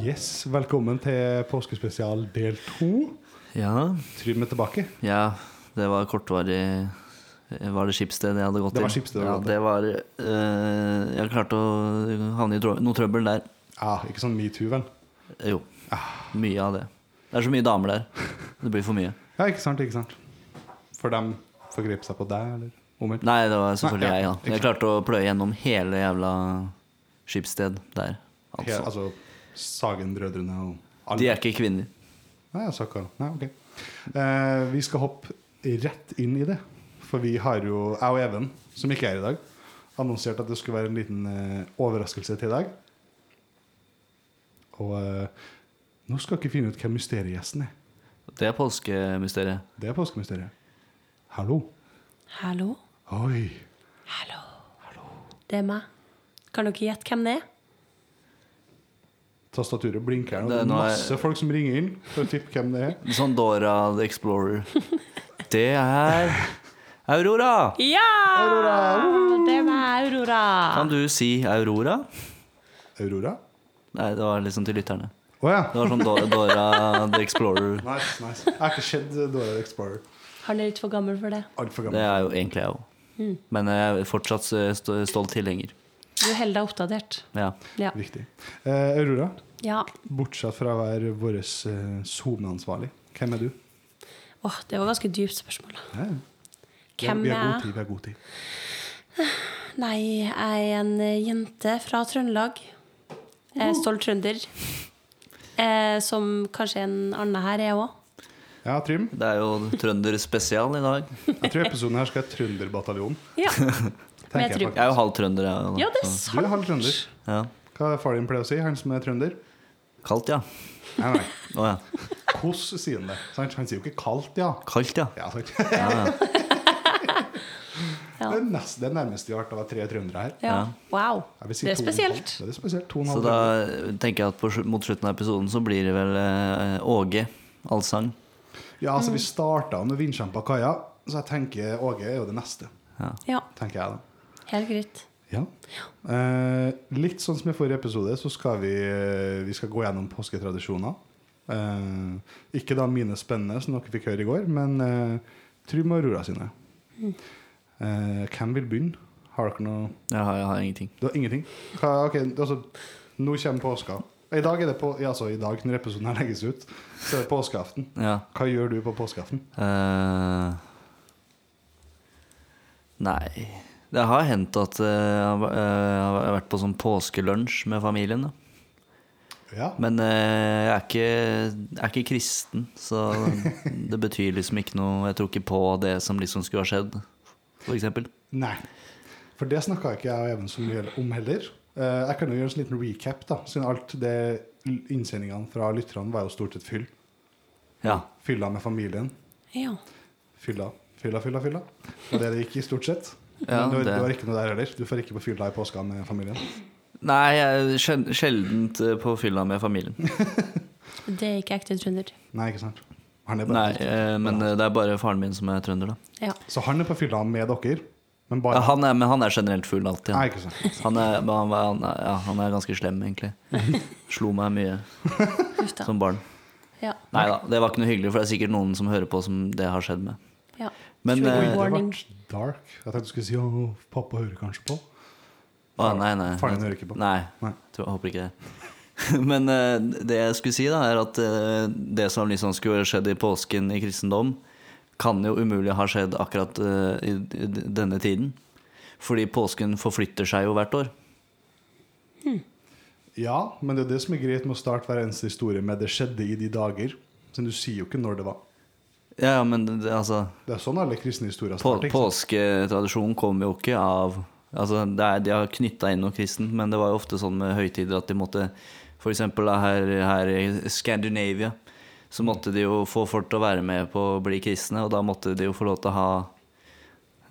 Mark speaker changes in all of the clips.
Speaker 1: Yes, velkommen til påskespesial del to.
Speaker 2: Ja,
Speaker 1: Trym er tilbake.
Speaker 2: ja, det var kortvarig eh, Var det skipsstedet jeg hadde gått
Speaker 1: Det var
Speaker 2: til?
Speaker 1: skipsstedet du
Speaker 2: ja,
Speaker 1: hadde.
Speaker 2: det var eh, Jeg klarte å havne i trø noe trøbbel der. Eh,
Speaker 1: Ah, ikke sånn metoo, vel?
Speaker 2: Jo.
Speaker 1: Ah.
Speaker 2: Mye av det. Det er så mye damer der. Det blir for mye.
Speaker 1: Ja, ikke sant, ikke sant. For dem forgrep seg på deg, eller omvendt?
Speaker 2: Nei, det var selvfølgelig
Speaker 1: Nei, ja,
Speaker 2: jeg, ja.
Speaker 1: ikke
Speaker 2: Jeg klarte å pløye gjennom hele jævla skipssted der.
Speaker 1: He-
Speaker 2: Altså.
Speaker 1: altså Sagen-brødrene og alle.
Speaker 2: De er ikke kvinner.
Speaker 1: Nei, jeg sa ikke alle. Nei, ok. Eh, vi skal hoppe rett inn i det. For vi har jo, jeg og Even, som ikke er i dag, annonsert at det skulle være en liten eh, overraskelse til i dag. Og eh, nå skal dere finne ut hvem mysteriegjesten er.
Speaker 2: Det er påskemysteriet.
Speaker 1: Det er påskemysteriet. Hallo.
Speaker 3: Hallo?
Speaker 1: Oi.
Speaker 3: Hallo. Det er meg. Kan dere gjette hvem det er?
Speaker 1: Tastaturet blinker her, og
Speaker 2: Det
Speaker 1: det er
Speaker 2: er noe-
Speaker 1: masse folk som ringer inn for å tippe hvem det er.
Speaker 2: Sånn Dora the Explorer. Det er Aurora!
Speaker 3: Ja! Aurora! Det er meg, Aurora.
Speaker 2: Kan du si Aurora?
Speaker 1: Aurora?
Speaker 2: Nei, det var liksom til lytterne.
Speaker 1: Å ja.
Speaker 2: Det var sånn Dora, Dora the Explorer.
Speaker 1: Nice, nice. Jeg har ikke sett eh, Dora the Explorer.
Speaker 3: Han er litt for gammel for det.
Speaker 1: Altfor
Speaker 2: Det
Speaker 1: gammel.
Speaker 2: er jo egentlig jeg òg.
Speaker 3: Mm.
Speaker 2: Men jeg er fortsatt eh, sto- stolt tilhenger.
Speaker 3: Du holder deg oppdatert.
Speaker 2: Ja.
Speaker 3: Ja.
Speaker 1: Viktig. Eh, Aurora,
Speaker 3: ja.
Speaker 1: bortsett fra å være vår SoMe-ansvarlig, hvem er du?
Speaker 3: Åh, det var ganske dypt spørsmål.
Speaker 1: Ja, ja. Vi har-
Speaker 3: Hvem
Speaker 1: vi
Speaker 3: er
Speaker 1: har god
Speaker 3: jeg?
Speaker 1: tid. Vi har god tid.
Speaker 3: Nei, jeg er en eh, jente fra Trøndelag. Jeg er stolt trønder. Eh, som kanskje en annen her er òg.
Speaker 1: Ja, Trym.
Speaker 2: Det er jo Trønder spesial i dag.
Speaker 1: Jeg tror episoden her skal hete Trønderbataljon.
Speaker 3: Ja.
Speaker 1: tenker
Speaker 3: Med
Speaker 1: jeg
Speaker 3: Trym.
Speaker 2: Jeg er jo halv trønder, jeg. da,
Speaker 3: ja, det er
Speaker 2: så-
Speaker 1: Du er halv
Speaker 3: sant.
Speaker 1: trønder.
Speaker 2: Ja.
Speaker 1: Hva er det far din pleier å si, han som er trønder?
Speaker 2: Kaldt, ja.
Speaker 1: Nei, nei.
Speaker 2: Å ja.
Speaker 1: Hvordan sier han det? Sant? Han sier jo ikke kaldt, ja.
Speaker 2: Kaldt, ja.
Speaker 1: Ja, sant.
Speaker 3: Ja.
Speaker 1: Det er nest- det er nærmest vi har vært av tre trøndere her.
Speaker 3: Ja.
Speaker 2: Ja.
Speaker 3: Wow.
Speaker 1: Jeg vil si
Speaker 3: Det er
Speaker 1: to og en halv.
Speaker 3: spesielt.
Speaker 1: Ja, Det er spesielt. To og en
Speaker 2: Så
Speaker 1: halv
Speaker 2: da
Speaker 1: trønder.
Speaker 2: tenker jeg at på, slu- mot slutten av episoden så blir det vel eh, Åge allsang.
Speaker 1: Ja, altså Vi
Speaker 3: Mm.
Speaker 1: starta med Vindkjempa Kaja, så jeg tenker Åge er jo det neste.
Speaker 3: Ja,
Speaker 1: tenker jeg da.
Speaker 3: helt greit.
Speaker 1: Ja. Eh, litt sånn som i forrige episode, så skal vi, eh, vi skal gå gjennom påsketradisjoner. Eh, ikke da mine spennende, som dere fikk høre i går, men eh, Trym og Aurora sine.
Speaker 3: Mm.
Speaker 1: Eh, hvem vil begynne? Har dere noe
Speaker 2: Jeg har, jeg har ingenting.
Speaker 1: Du har ingenting? Hva, ok, altså, nå kommer påska. I dag er det på, ja, altså i dag når episoden her legges ut, så er det påskeaften.
Speaker 2: Ja.
Speaker 1: Hva gjør du på påskeaften?
Speaker 2: Eh, nei Det har hendt at eh, jeg har- eh, jeg har vært på sånn påskelunsj med familien. Da.
Speaker 1: Ja.
Speaker 2: Men eh, jeg, er ikke, jeg er ikke kristen, så det betyr liksom ikke noe Jeg tror ikke på det som liksom skulle ha skjedd, for eksempel.
Speaker 1: Nei. For det snakka ikke jeg og Even så mye om heller. Eh, Jeg kan jo gjøre en sånn liten recap, da, siden alt det innsendingene fra lytterne var jo stort sett fyll.
Speaker 2: Ja.
Speaker 1: Fylla med familien.
Speaker 3: Ja.
Speaker 1: Fylla, fylla, fylla. fylla. Og det det gikk i, stort sett.
Speaker 2: Ja,
Speaker 1: Men du,
Speaker 2: det-
Speaker 1: du har ikke noe der heller. Du får ikke på fylla i påska med familien.
Speaker 2: Nei, jeg er sjel- sjeldent eh, på fylla med familien.
Speaker 3: Det er ikke ekte trønder.
Speaker 1: Nei, ikke sant? Han er bare
Speaker 2: Nei, eh, men eh, det er bare faren min som er trønder, da.
Speaker 3: Ja.
Speaker 1: Så han er på fylla med dere, men
Speaker 2: Ja,
Speaker 1: bare
Speaker 2: han, er, men han er generelt full alltid.
Speaker 1: Nei,
Speaker 2: Han,
Speaker 1: ikke sant.
Speaker 2: han, er, men han, var- han, er, ja, han er ganske slem, egentlig. Slo meg mye
Speaker 3: Uff da.
Speaker 2: som barn.
Speaker 3: Ja.
Speaker 2: Nei da, det var ikke noe hyggelig, for det er sikkert noen som hører på som det har skjedd med.
Speaker 3: ja.
Speaker 2: Men
Speaker 3: True
Speaker 1: Oi,
Speaker 2: eh,
Speaker 1: det ble
Speaker 3: warning.
Speaker 1: dark. Jeg tenkte du skulle si at pappa hører kanskje på.
Speaker 2: Å, nei, nei.
Speaker 1: Faren din hører ikke på.
Speaker 2: Nei,
Speaker 1: Nei.
Speaker 2: tror, jeg håper ikke det. Men eh, det jeg skulle si, da, er at eh, det som liksom skulle skjedd i påsken i kristendom, kan jo umulig ha skjedd akkurat eh, i, i d- denne tiden. Fordi påsken forflytter seg jo hvert år.
Speaker 1: Ja, men det er det som er greit med å starte hver eneste historie med 'det skjedde i de dager'. Men du sier jo ikke når det var.
Speaker 2: Ja, ja, men det, altså
Speaker 1: Det er sånn alle kristne historier
Speaker 2: på,
Speaker 1: starter. ikke sant?
Speaker 2: Påsketradisjonen kommer jo ikke av Altså, det er, De har knytta inn noe kristent, men det var jo ofte sånn med høytider at de måtte F.eks. Her, her i Scandinavia så måtte de jo få folk til å være med på å bli kristne, og da måtte de jo få lov til å ha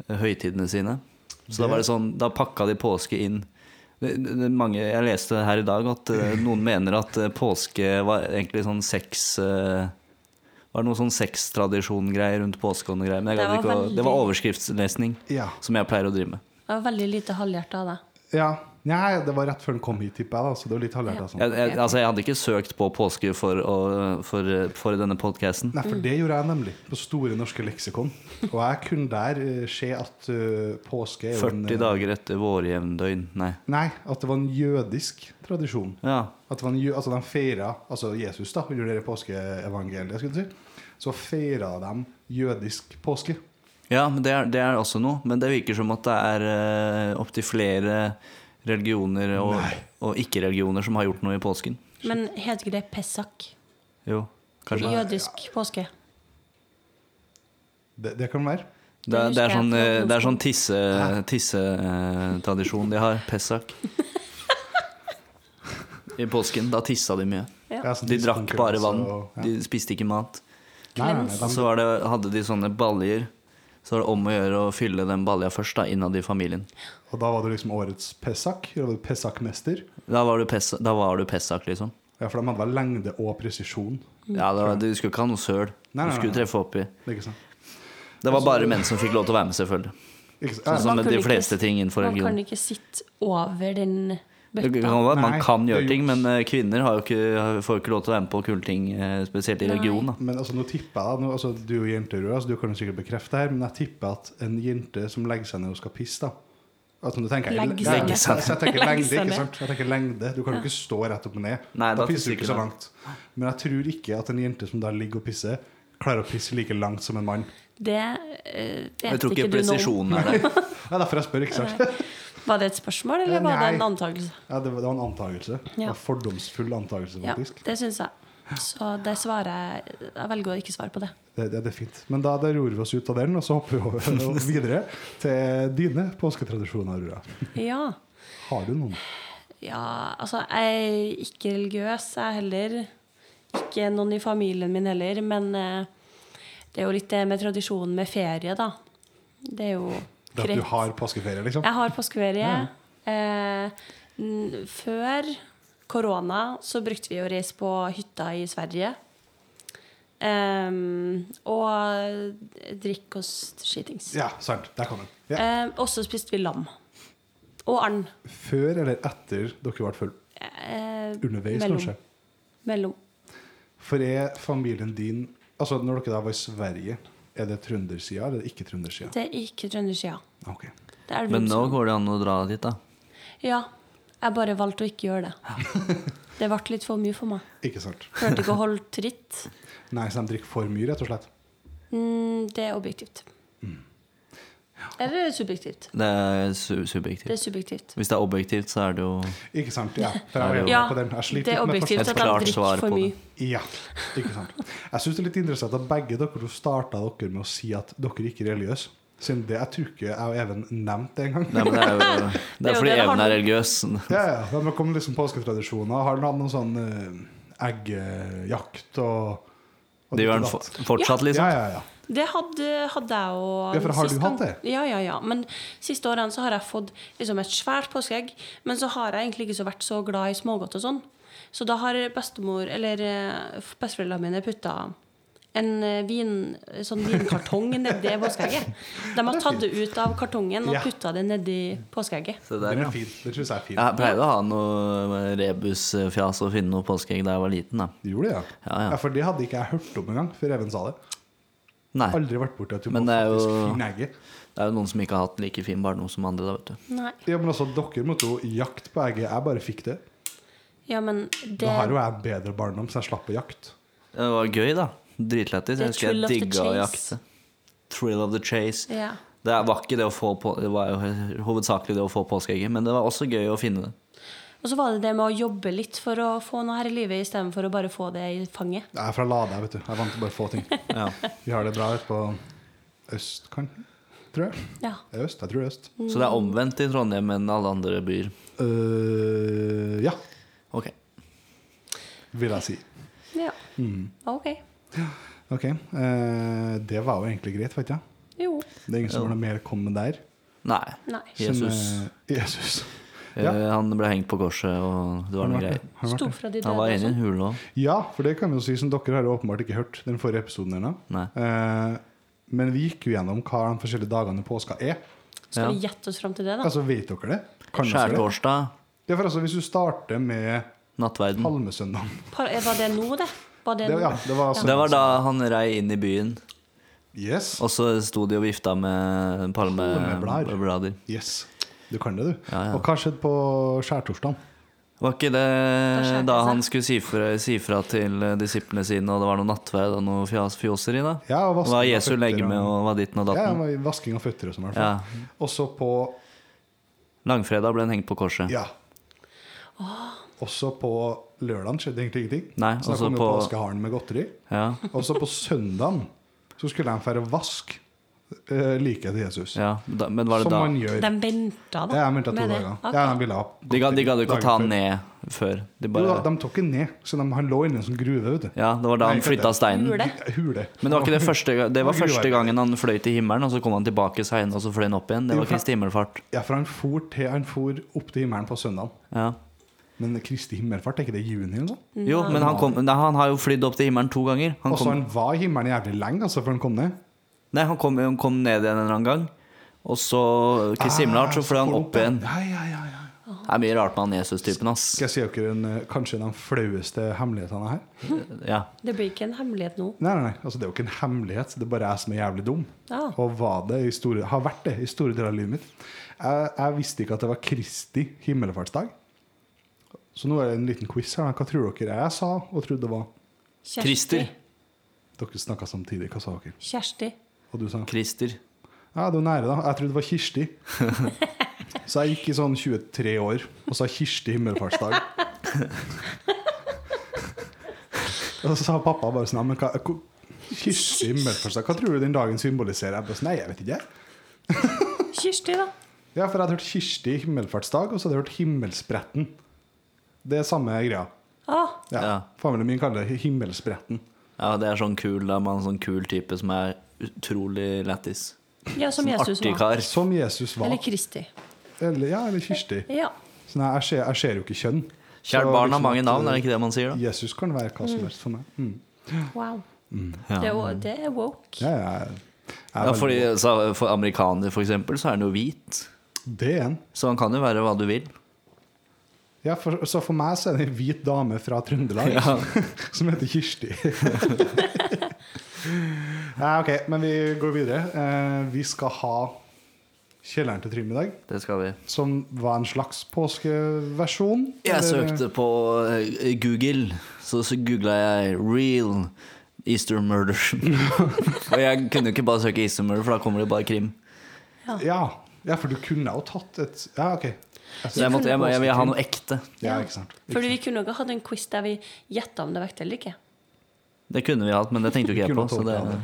Speaker 2: eh, høytidene sine. Så da var det sånn, da pakka de påske inn. Det, det, det- mange, jeg leste her i dag at eh, noen mener at eh, påske var egentlig sånn sex... eh, var det noe sånn sextradisjon-greier rundt påske og noe greier? Men jeg
Speaker 3: Det
Speaker 2: gadd
Speaker 3: var
Speaker 2: ikke å- det
Speaker 3: veldig-
Speaker 2: var overskriftslesning,
Speaker 1: Ja.
Speaker 2: som jeg pleier å drive med.
Speaker 3: Det var veldig lite halvhjerta av deg.
Speaker 1: ja. Nei, det var rett før den kom hit, tipper jeg. da Så det var litt halvhjertet. Sånn.
Speaker 2: Jeg, jeg, altså, jeg hadde ikke søkt på påske for, å, for, for denne podkasten.
Speaker 1: Nei, for det gjorde jeg nemlig på Store norske leksikon. Og jeg kunne der eh, se at eh, påske er jo en,
Speaker 2: 40
Speaker 1: eh,
Speaker 2: dager etter vårjevndøgn. Nei.
Speaker 1: Nei, at det var en jødisk tradisjon.
Speaker 2: Ja.
Speaker 1: At det var en, jø- altså de feira altså Jesus da, under det påskeevangeliet, skulle du si. Så feira de jødisk påske.
Speaker 2: Ja, men det er, det er også noe. Men det virker som at det er uh, opptil flere religioner og, og ikke-religioner som har gjort noe i påsken.
Speaker 3: Men heter ikke det Pesach?
Speaker 2: Jo, kanskje.
Speaker 3: Jødisk påske.
Speaker 1: Det, det kan være.
Speaker 2: Det, er- det er sånn, eh, det er sånn tisse- tissetradisjon de har. Pessak. I påsken. Da tissa de mye.
Speaker 1: Jeg er sånn
Speaker 2: De drakk bare vann.
Speaker 1: og- ja.
Speaker 2: De spiste ikke mat.
Speaker 1: Nei, nei, nei,
Speaker 2: Og så
Speaker 1: de,
Speaker 2: var det, hadde de sånne baljer. Så var det om å gjøre å fylle den balja først, da, innad i familien.
Speaker 1: og da var du liksom årets Pesach. Eller var du Pesach-mester?
Speaker 2: Da var du, pes, da var du pessak, liksom.
Speaker 1: Ja, for de hadde vel lengde og presisjon.
Speaker 3: Mm.
Speaker 2: Ja, det var, Du skulle ikke ha noe søl.
Speaker 1: Nei,
Speaker 2: Du
Speaker 1: nei,
Speaker 2: skulle
Speaker 1: nei.
Speaker 2: treffe oppi.
Speaker 1: Ikke sant?
Speaker 2: Det var bare menn som fikk lov til å være med, selvfølgelig.
Speaker 1: Ikke sant?
Speaker 2: Sånn
Speaker 1: Ja,
Speaker 2: som
Speaker 3: Altså, Man
Speaker 2: med de
Speaker 3: kunne ikke-
Speaker 2: fleste ting innenfor
Speaker 3: Man kan
Speaker 2: religion.
Speaker 3: ikke sitte over den
Speaker 2: Det kan
Speaker 3: bøtta.
Speaker 2: være at
Speaker 1: Nei,
Speaker 2: man kan
Speaker 1: det er
Speaker 2: gjøre ting,
Speaker 1: juks.
Speaker 2: men eh, kvinner har jo ikke, får jo ikke lov til å være med på kule ting, eh, spesielt i
Speaker 3: Nei.
Speaker 2: religion. da.
Speaker 1: Men altså, nå tipper jeg da, nå, altså, Du er jo jente, Aurora, så du kan jo sikkert bekrefte det her, men jeg tipper at en jente som legger seg ned og skal pisse, da altså, nå tenker jeg,
Speaker 3: Legger
Speaker 1: Nei,
Speaker 2: seg ned.
Speaker 1: altså, Jeg, tenker
Speaker 3: Legger
Speaker 1: lengde,
Speaker 3: seg ned.
Speaker 1: ikke sant? Jeg tenker lengde. Du kan jo ikke stå rett opp og ned. da
Speaker 2: Nei, da
Speaker 1: pisser du
Speaker 2: sikkert
Speaker 1: ikke så
Speaker 2: da.
Speaker 1: langt. Men jeg tror ikke at en jente som da ligger og pisser, klarer å pisse like langt som en mann.
Speaker 3: Det eh,
Speaker 2: Jeg
Speaker 3: vet
Speaker 2: tror
Speaker 3: ikke
Speaker 2: ikke
Speaker 3: du noe om.
Speaker 2: presisjonen er der.
Speaker 1: Det er derfor jeg spør, ikke sant?
Speaker 3: Var det et spørsmål, eller var det en
Speaker 1: Eh, Nei.
Speaker 3: antakelse?
Speaker 1: Ja, det, var, det var en antakelse.
Speaker 3: Ja.
Speaker 1: En fordomsfull antakelse,
Speaker 3: Ja,
Speaker 1: faktisk.
Speaker 3: det syns jeg. Så det svarer jeg Jeg velger å ikke svare på det.
Speaker 1: Det, det, det er fint. Men da, da ror vi oss ut av den, og så hopper vi over og videre til dine påsketradisjoner, Aurora.
Speaker 3: Ja.
Speaker 1: Har du noen?
Speaker 3: Ja, altså, jeg er ikke religiøs, jeg heller. Ikke noen i familien min heller, men eh, det er jo litt det med tradisjonen med ferie, da. Det er jo
Speaker 1: Det at du har påskeferie, liksom?
Speaker 3: Jeg har påskeferie. Eh, n- før korona så brukte vi å reise på hytta i Sverige. Em, og drikke oss til skitings.
Speaker 1: Ja, sant. Der kom den. Ja.
Speaker 3: Em, og så spiste vi lam. Og and.
Speaker 1: Før eller etter dere ble full?
Speaker 3: Eh,
Speaker 1: Underveis,
Speaker 3: mellom.
Speaker 1: kanskje?
Speaker 3: Mellom.
Speaker 1: For er familien din Altså, når dere da var i Sverige, er det trøndersida eller er det ikke trøndersida?
Speaker 3: Det er ikke trøndersida.
Speaker 1: Ok.
Speaker 3: Det er
Speaker 2: Men nå
Speaker 3: Elverum.
Speaker 2: går det an å dra dit, da.
Speaker 3: Ja. Jeg bare valgte å ikke gjøre det. Det ble litt for mye for meg.
Speaker 1: Ikke sant.
Speaker 3: Klarte ikke å holde tritt.
Speaker 1: Nei, så de drikker for mye, rett og slett.
Speaker 3: Mm, det er objektivt.
Speaker 2: Mm.
Speaker 3: Eller er det subjektivt?
Speaker 2: Det er su
Speaker 3: Det
Speaker 2: subjektivt.
Speaker 3: er subjektivt.
Speaker 2: Hvis det er objektivt, så er det jo
Speaker 1: Ikke sant, ja. For jeg var
Speaker 3: Ja,
Speaker 1: inne på den. Jeg
Speaker 3: det
Speaker 1: sliter
Speaker 3: er
Speaker 1: litt med
Speaker 3: objektivt
Speaker 2: Et
Speaker 3: at
Speaker 2: klart
Speaker 3: jeg
Speaker 2: svar
Speaker 3: drikker for
Speaker 2: på
Speaker 3: mye.
Speaker 2: det.
Speaker 1: Ja, ikke sant. Jeg syns det er litt interessant at begge dere starta dere med å si at dere ikke er religiøse. Siden det jeg tror ikke jeg og Even nevnte det engang.
Speaker 2: Nei, men det er jo Det
Speaker 3: Det
Speaker 2: er fordi
Speaker 3: er jo det det
Speaker 2: Even er
Speaker 3: handler om.
Speaker 2: religiøs.
Speaker 1: Ja, ja. De har kommet liksom påsketradisjoner. Har han hatt noen sånn eh, eggjakt og, og
Speaker 2: Det
Speaker 1: ditt og
Speaker 2: gjør han
Speaker 1: datt?
Speaker 2: for- fortsatt,
Speaker 1: Ja,
Speaker 2: liksom.
Speaker 1: ja, ja.
Speaker 3: Det hadde, hadde jeg og
Speaker 1: Ja, for har du
Speaker 3: sist
Speaker 1: hatt
Speaker 3: gang-
Speaker 1: det?
Speaker 3: Ja, ja, ja. Men siste årene så har jeg fått liksom et svært påskeegg. Men så har jeg egentlig ikke så vært så glad i smågodt og sånn. Så da har bestemor, eller eh, besteforeldrene mine putta en eh, vin, sånn vinkartong nedi påskeegget. De har tatt det ut av kartongen og
Speaker 1: Ja.
Speaker 3: putta det nedi påskeegget.
Speaker 2: Se der,
Speaker 1: Den
Speaker 2: ja.
Speaker 1: er fin. Den syns jeg er fin.
Speaker 2: Jeg pleide å ha noe rebusfjas og finne noe påskeegg da jeg var liten. da
Speaker 1: Du gjorde det, ja.
Speaker 2: Ja, ja.
Speaker 1: For det hadde ikke jeg hørt om engang før Even sa det.
Speaker 2: Nei,
Speaker 1: Aldri vært borti at du må
Speaker 2: Men det er jo-
Speaker 1: faktisk finne egget.
Speaker 2: det er jo noen som ikke har hatt like fin barndom som andre. da, vet du
Speaker 3: Nei.
Speaker 1: Ja, men altså, dere måtte jo jakte på egget. Jeg bare fikk det.
Speaker 3: Ja, men det
Speaker 1: Da har jo jeg bedre barndom, så jeg slapp å jakte.
Speaker 2: Det var gøy, da. Dritlættis.
Speaker 3: Det
Speaker 2: Jeg
Speaker 3: er
Speaker 2: husker
Speaker 3: thrill
Speaker 2: jeg
Speaker 3: of the
Speaker 2: digga å
Speaker 3: chase.
Speaker 2: jakte. Thrill of the chase.
Speaker 3: ja.
Speaker 2: Det var ikke det å få på, Det var jo hovedsakelig det å få påskeegget, men det var også gøy å finne det.
Speaker 3: Og så var det det med å jobbe litt for å få noe her i livet istedenfor å bare få det i fanget.
Speaker 1: Jeg er fra Lade, vet du. Jeg er vant til bare få ting.
Speaker 2: Ja.
Speaker 1: Vi har det bra ute på østkanten, tror jeg.
Speaker 3: Ja.
Speaker 1: Det er øst, jeg tror det er øst.
Speaker 2: Så det er omvendt i Trondheim enn alle andre byer.
Speaker 1: Øh, ja,
Speaker 2: Ok.
Speaker 1: vil jeg si. Mm.
Speaker 3: ja. Ok.
Speaker 1: Ok, eh, det var jo egentlig greit, vet jeg.
Speaker 3: Jo.
Speaker 1: Det er ingen som har noe mer å komme med der.
Speaker 2: Nei.
Speaker 3: Nei.
Speaker 2: Jesus.
Speaker 1: Som, eh, Jesus.
Speaker 2: Eh,
Speaker 1: ja.
Speaker 2: Han ble hengt på korset, og det var noe greier.
Speaker 1: Har det vært
Speaker 3: Sto
Speaker 1: det?
Speaker 3: fra de
Speaker 2: Han var
Speaker 3: døde. altså.
Speaker 2: inne i en
Speaker 3: også.
Speaker 2: hule òg.
Speaker 1: Ja, for det kan vi jo si, som dere har jo åpenbart ikke hørt den forrige episoden ennå.
Speaker 2: Nei.
Speaker 1: Eh, men vi gikk jo gjennom hva de forskjellige dagene i påska er.
Speaker 2: Ja.
Speaker 3: Skal vi gjette oss fram til det, da?
Speaker 1: Altså, vet dere det? Kan dere det?
Speaker 2: Skjærtorsdag,
Speaker 1: Ja, for altså, hvis du starter med
Speaker 2: nattverden.
Speaker 1: Palmesøndag
Speaker 3: Par- eh, Var det nå, det? Var det
Speaker 1: det,
Speaker 3: nå?
Speaker 1: Ja, det var
Speaker 2: Det var da han rei inn i byen,
Speaker 1: Yes.
Speaker 2: og så sto de og vifta med
Speaker 1: Palmeblader.
Speaker 2: palmeblader.
Speaker 1: yes. Du kan det, du.
Speaker 2: Ja, ja.
Speaker 1: Og hva skjedde på skjærtorsdagen?
Speaker 2: Var ikke det
Speaker 3: skjedde det
Speaker 2: da
Speaker 3: seg.
Speaker 2: han skulle si fra, si fra til eh, disiplene sine, og det var noe nattverd og noe fjas, fjoseri, da?
Speaker 1: Ja, og
Speaker 2: Det
Speaker 1: vasking
Speaker 2: var
Speaker 1: av
Speaker 2: Jesu
Speaker 1: føtter
Speaker 2: legeme
Speaker 1: og-
Speaker 2: og var ditten og
Speaker 1: Ja, det
Speaker 2: datten?
Speaker 1: var vasking av føtter og sånn, i hvert
Speaker 2: Ja.
Speaker 1: fall. Og så på
Speaker 2: Langfredag ble han hengt på korset.
Speaker 1: Ja. Også på lørdagen skjedde egentlig ingenting.
Speaker 2: Nei,
Speaker 1: så da
Speaker 2: også
Speaker 1: kom jo
Speaker 2: på-
Speaker 1: påskeharen med godteri.
Speaker 2: Ja.
Speaker 1: Og så på søndagen så skulle de fære vask uh, liket til Jesus.
Speaker 2: ja. Da, men var det
Speaker 1: som
Speaker 2: da
Speaker 1: man gjør.
Speaker 3: De venta, da?
Speaker 1: Ja, jeg mente at to
Speaker 3: med det.
Speaker 1: dager.
Speaker 3: Ok.
Speaker 1: Ja, de ville ha
Speaker 2: De gadd de gadd ikke å
Speaker 1: dagen
Speaker 2: ta
Speaker 1: før.
Speaker 2: han ned før. De
Speaker 1: Jo, da,
Speaker 2: bare,
Speaker 1: de tok den ned, så de, han lå inne i en sånn gruve. vet du.
Speaker 2: ja, det var
Speaker 1: Nei,
Speaker 2: da han
Speaker 1: ikke
Speaker 2: flytta
Speaker 1: det.
Speaker 2: steinen.
Speaker 3: Hule.
Speaker 1: Hule.
Speaker 2: Men det var ikke det første, ga- det var
Speaker 1: Det var
Speaker 2: første
Speaker 1: gruvearbeid.
Speaker 2: gangen han fløy til himmelen, og så kom han tilbake seinere, og så fløy han opp igjen. Det
Speaker 1: Jo,
Speaker 2: var
Speaker 1: for-
Speaker 2: Kristi himmelfart.
Speaker 1: Ja, for han for, til, han for opp til himmelen på søndagen.
Speaker 2: Ja.
Speaker 1: Men Kristi himmelfart, er ikke det i juni? eller noe?
Speaker 2: Jo, men han, kom, nei, han har jo flydd opp til himmelen to ganger. Han
Speaker 1: Og så
Speaker 2: kom,
Speaker 1: han var i himmelen jævlig lenge altså, før han kom ned.
Speaker 2: nei, han kom, han kom ned igjen en eller annen gang, og så
Speaker 1: Ah,
Speaker 2: Kristi himmelfart, så fløy han opp igjen.
Speaker 1: Ja, ja, ja, ja.
Speaker 2: Det er mye rart med han Jesus-typen, ass.
Speaker 1: Skal jeg si dere en, eh, kanskje en av de flaueste hemmelighetene her?
Speaker 2: Ja.
Speaker 3: Det blir ikke en hemmelighet nå.
Speaker 1: Nei, nei, nei. Altså, det er jo ikke en hemmelighet. Det er bare jeg som er jævlig dum.
Speaker 3: Ja.
Speaker 1: Og var det i store, har vært det i store deler av livet mitt. Jeg, jeg visste ikke at det var Kristi himmelfartsdag. Så nå er det en liten quiz her. Hva tror dere jeg sa og trodde det var?
Speaker 3: Kjersti.
Speaker 2: Christer.
Speaker 1: Dere snakka samtidig. Hva sa dere?
Speaker 3: Kjersti.
Speaker 1: Og du sa
Speaker 2: Christer.
Speaker 1: Ja, du er nære, da. Jeg trodde det var Kirsti. Så jeg gikk i sånn 23 år og sa Kirsti himmelfartsdag. Og så sa pappa bare sånn «Ja, men hva, hvor- Kirsti himmelfartsdag, hva tror du den dagen symboliserer? Jeg bare sånn, Nei, jeg vet ikke.
Speaker 3: Kirsti, da.
Speaker 1: Ja, for jeg hadde hørt Kirsti himmelfartsdag, og så hadde jeg hørt Himmelspretten. Det er samme greia.
Speaker 3: Ah,
Speaker 1: Ja.
Speaker 2: Ja.
Speaker 1: Familien min kaller det Himmelspretten.
Speaker 2: Ja, det er sånn kul, da, med en sånn kul type som er utrolig lættis.
Speaker 3: ja, som
Speaker 2: Sånn
Speaker 3: Jesus
Speaker 2: artig
Speaker 3: var.
Speaker 2: kar.
Speaker 1: Som Jesus var.
Speaker 3: Eller
Speaker 1: Eller,
Speaker 3: Kristi.
Speaker 1: ja, eller Kirsti.
Speaker 3: Ja.
Speaker 1: Så nei, jeg ser, jeg ser jo ikke kjønn.
Speaker 2: Kjært
Speaker 1: Så
Speaker 2: barn har
Speaker 1: liksom
Speaker 2: mange
Speaker 1: at,
Speaker 2: navn, er det ikke det man sier, da?
Speaker 1: Jesus kan være hva som helst for meg. Mm.
Speaker 3: Wow. Det,
Speaker 2: Ja.
Speaker 3: er, wo- det er woke.
Speaker 1: Ja, ja, jeg- jeg er
Speaker 2: Ja,
Speaker 1: veldig-
Speaker 2: fordi så, For amerikaner, for eksempel, så er han jo hvit.
Speaker 1: Det er en.
Speaker 2: Så han kan jo være hva du vil.
Speaker 1: Ja, for, så for meg så er det en hvit dame fra Trøndelag
Speaker 2: Ja.
Speaker 1: som heter Kirsti. ja, ok, men vi går videre. Eh, vi skal ha Kjelleren til Trym i dag,
Speaker 2: Det skal vi.
Speaker 1: som var en slags påskeversjon.
Speaker 2: Jeg
Speaker 1: eller-
Speaker 2: søkte på eh, Google, så, så googla jeg 'real Easter murder'. Og jeg kunne jo ikke bare søke 'Easter murder', for da kommer det bare krim.
Speaker 1: Ja. ja, for du kunne jo tatt et Ja, ok.
Speaker 2: Så jeg, måtte, jeg, jeg ville ha noe ekte.
Speaker 1: Ja, ikke sant.
Speaker 3: Fordi vi kunne også hatt en quiz der vi gjetta om det var ekte eller ikke.
Speaker 2: Det kunne vi hatt, men det tenkte jo ikke jeg
Speaker 1: Kunne
Speaker 2: på. Så
Speaker 1: tolka
Speaker 2: det,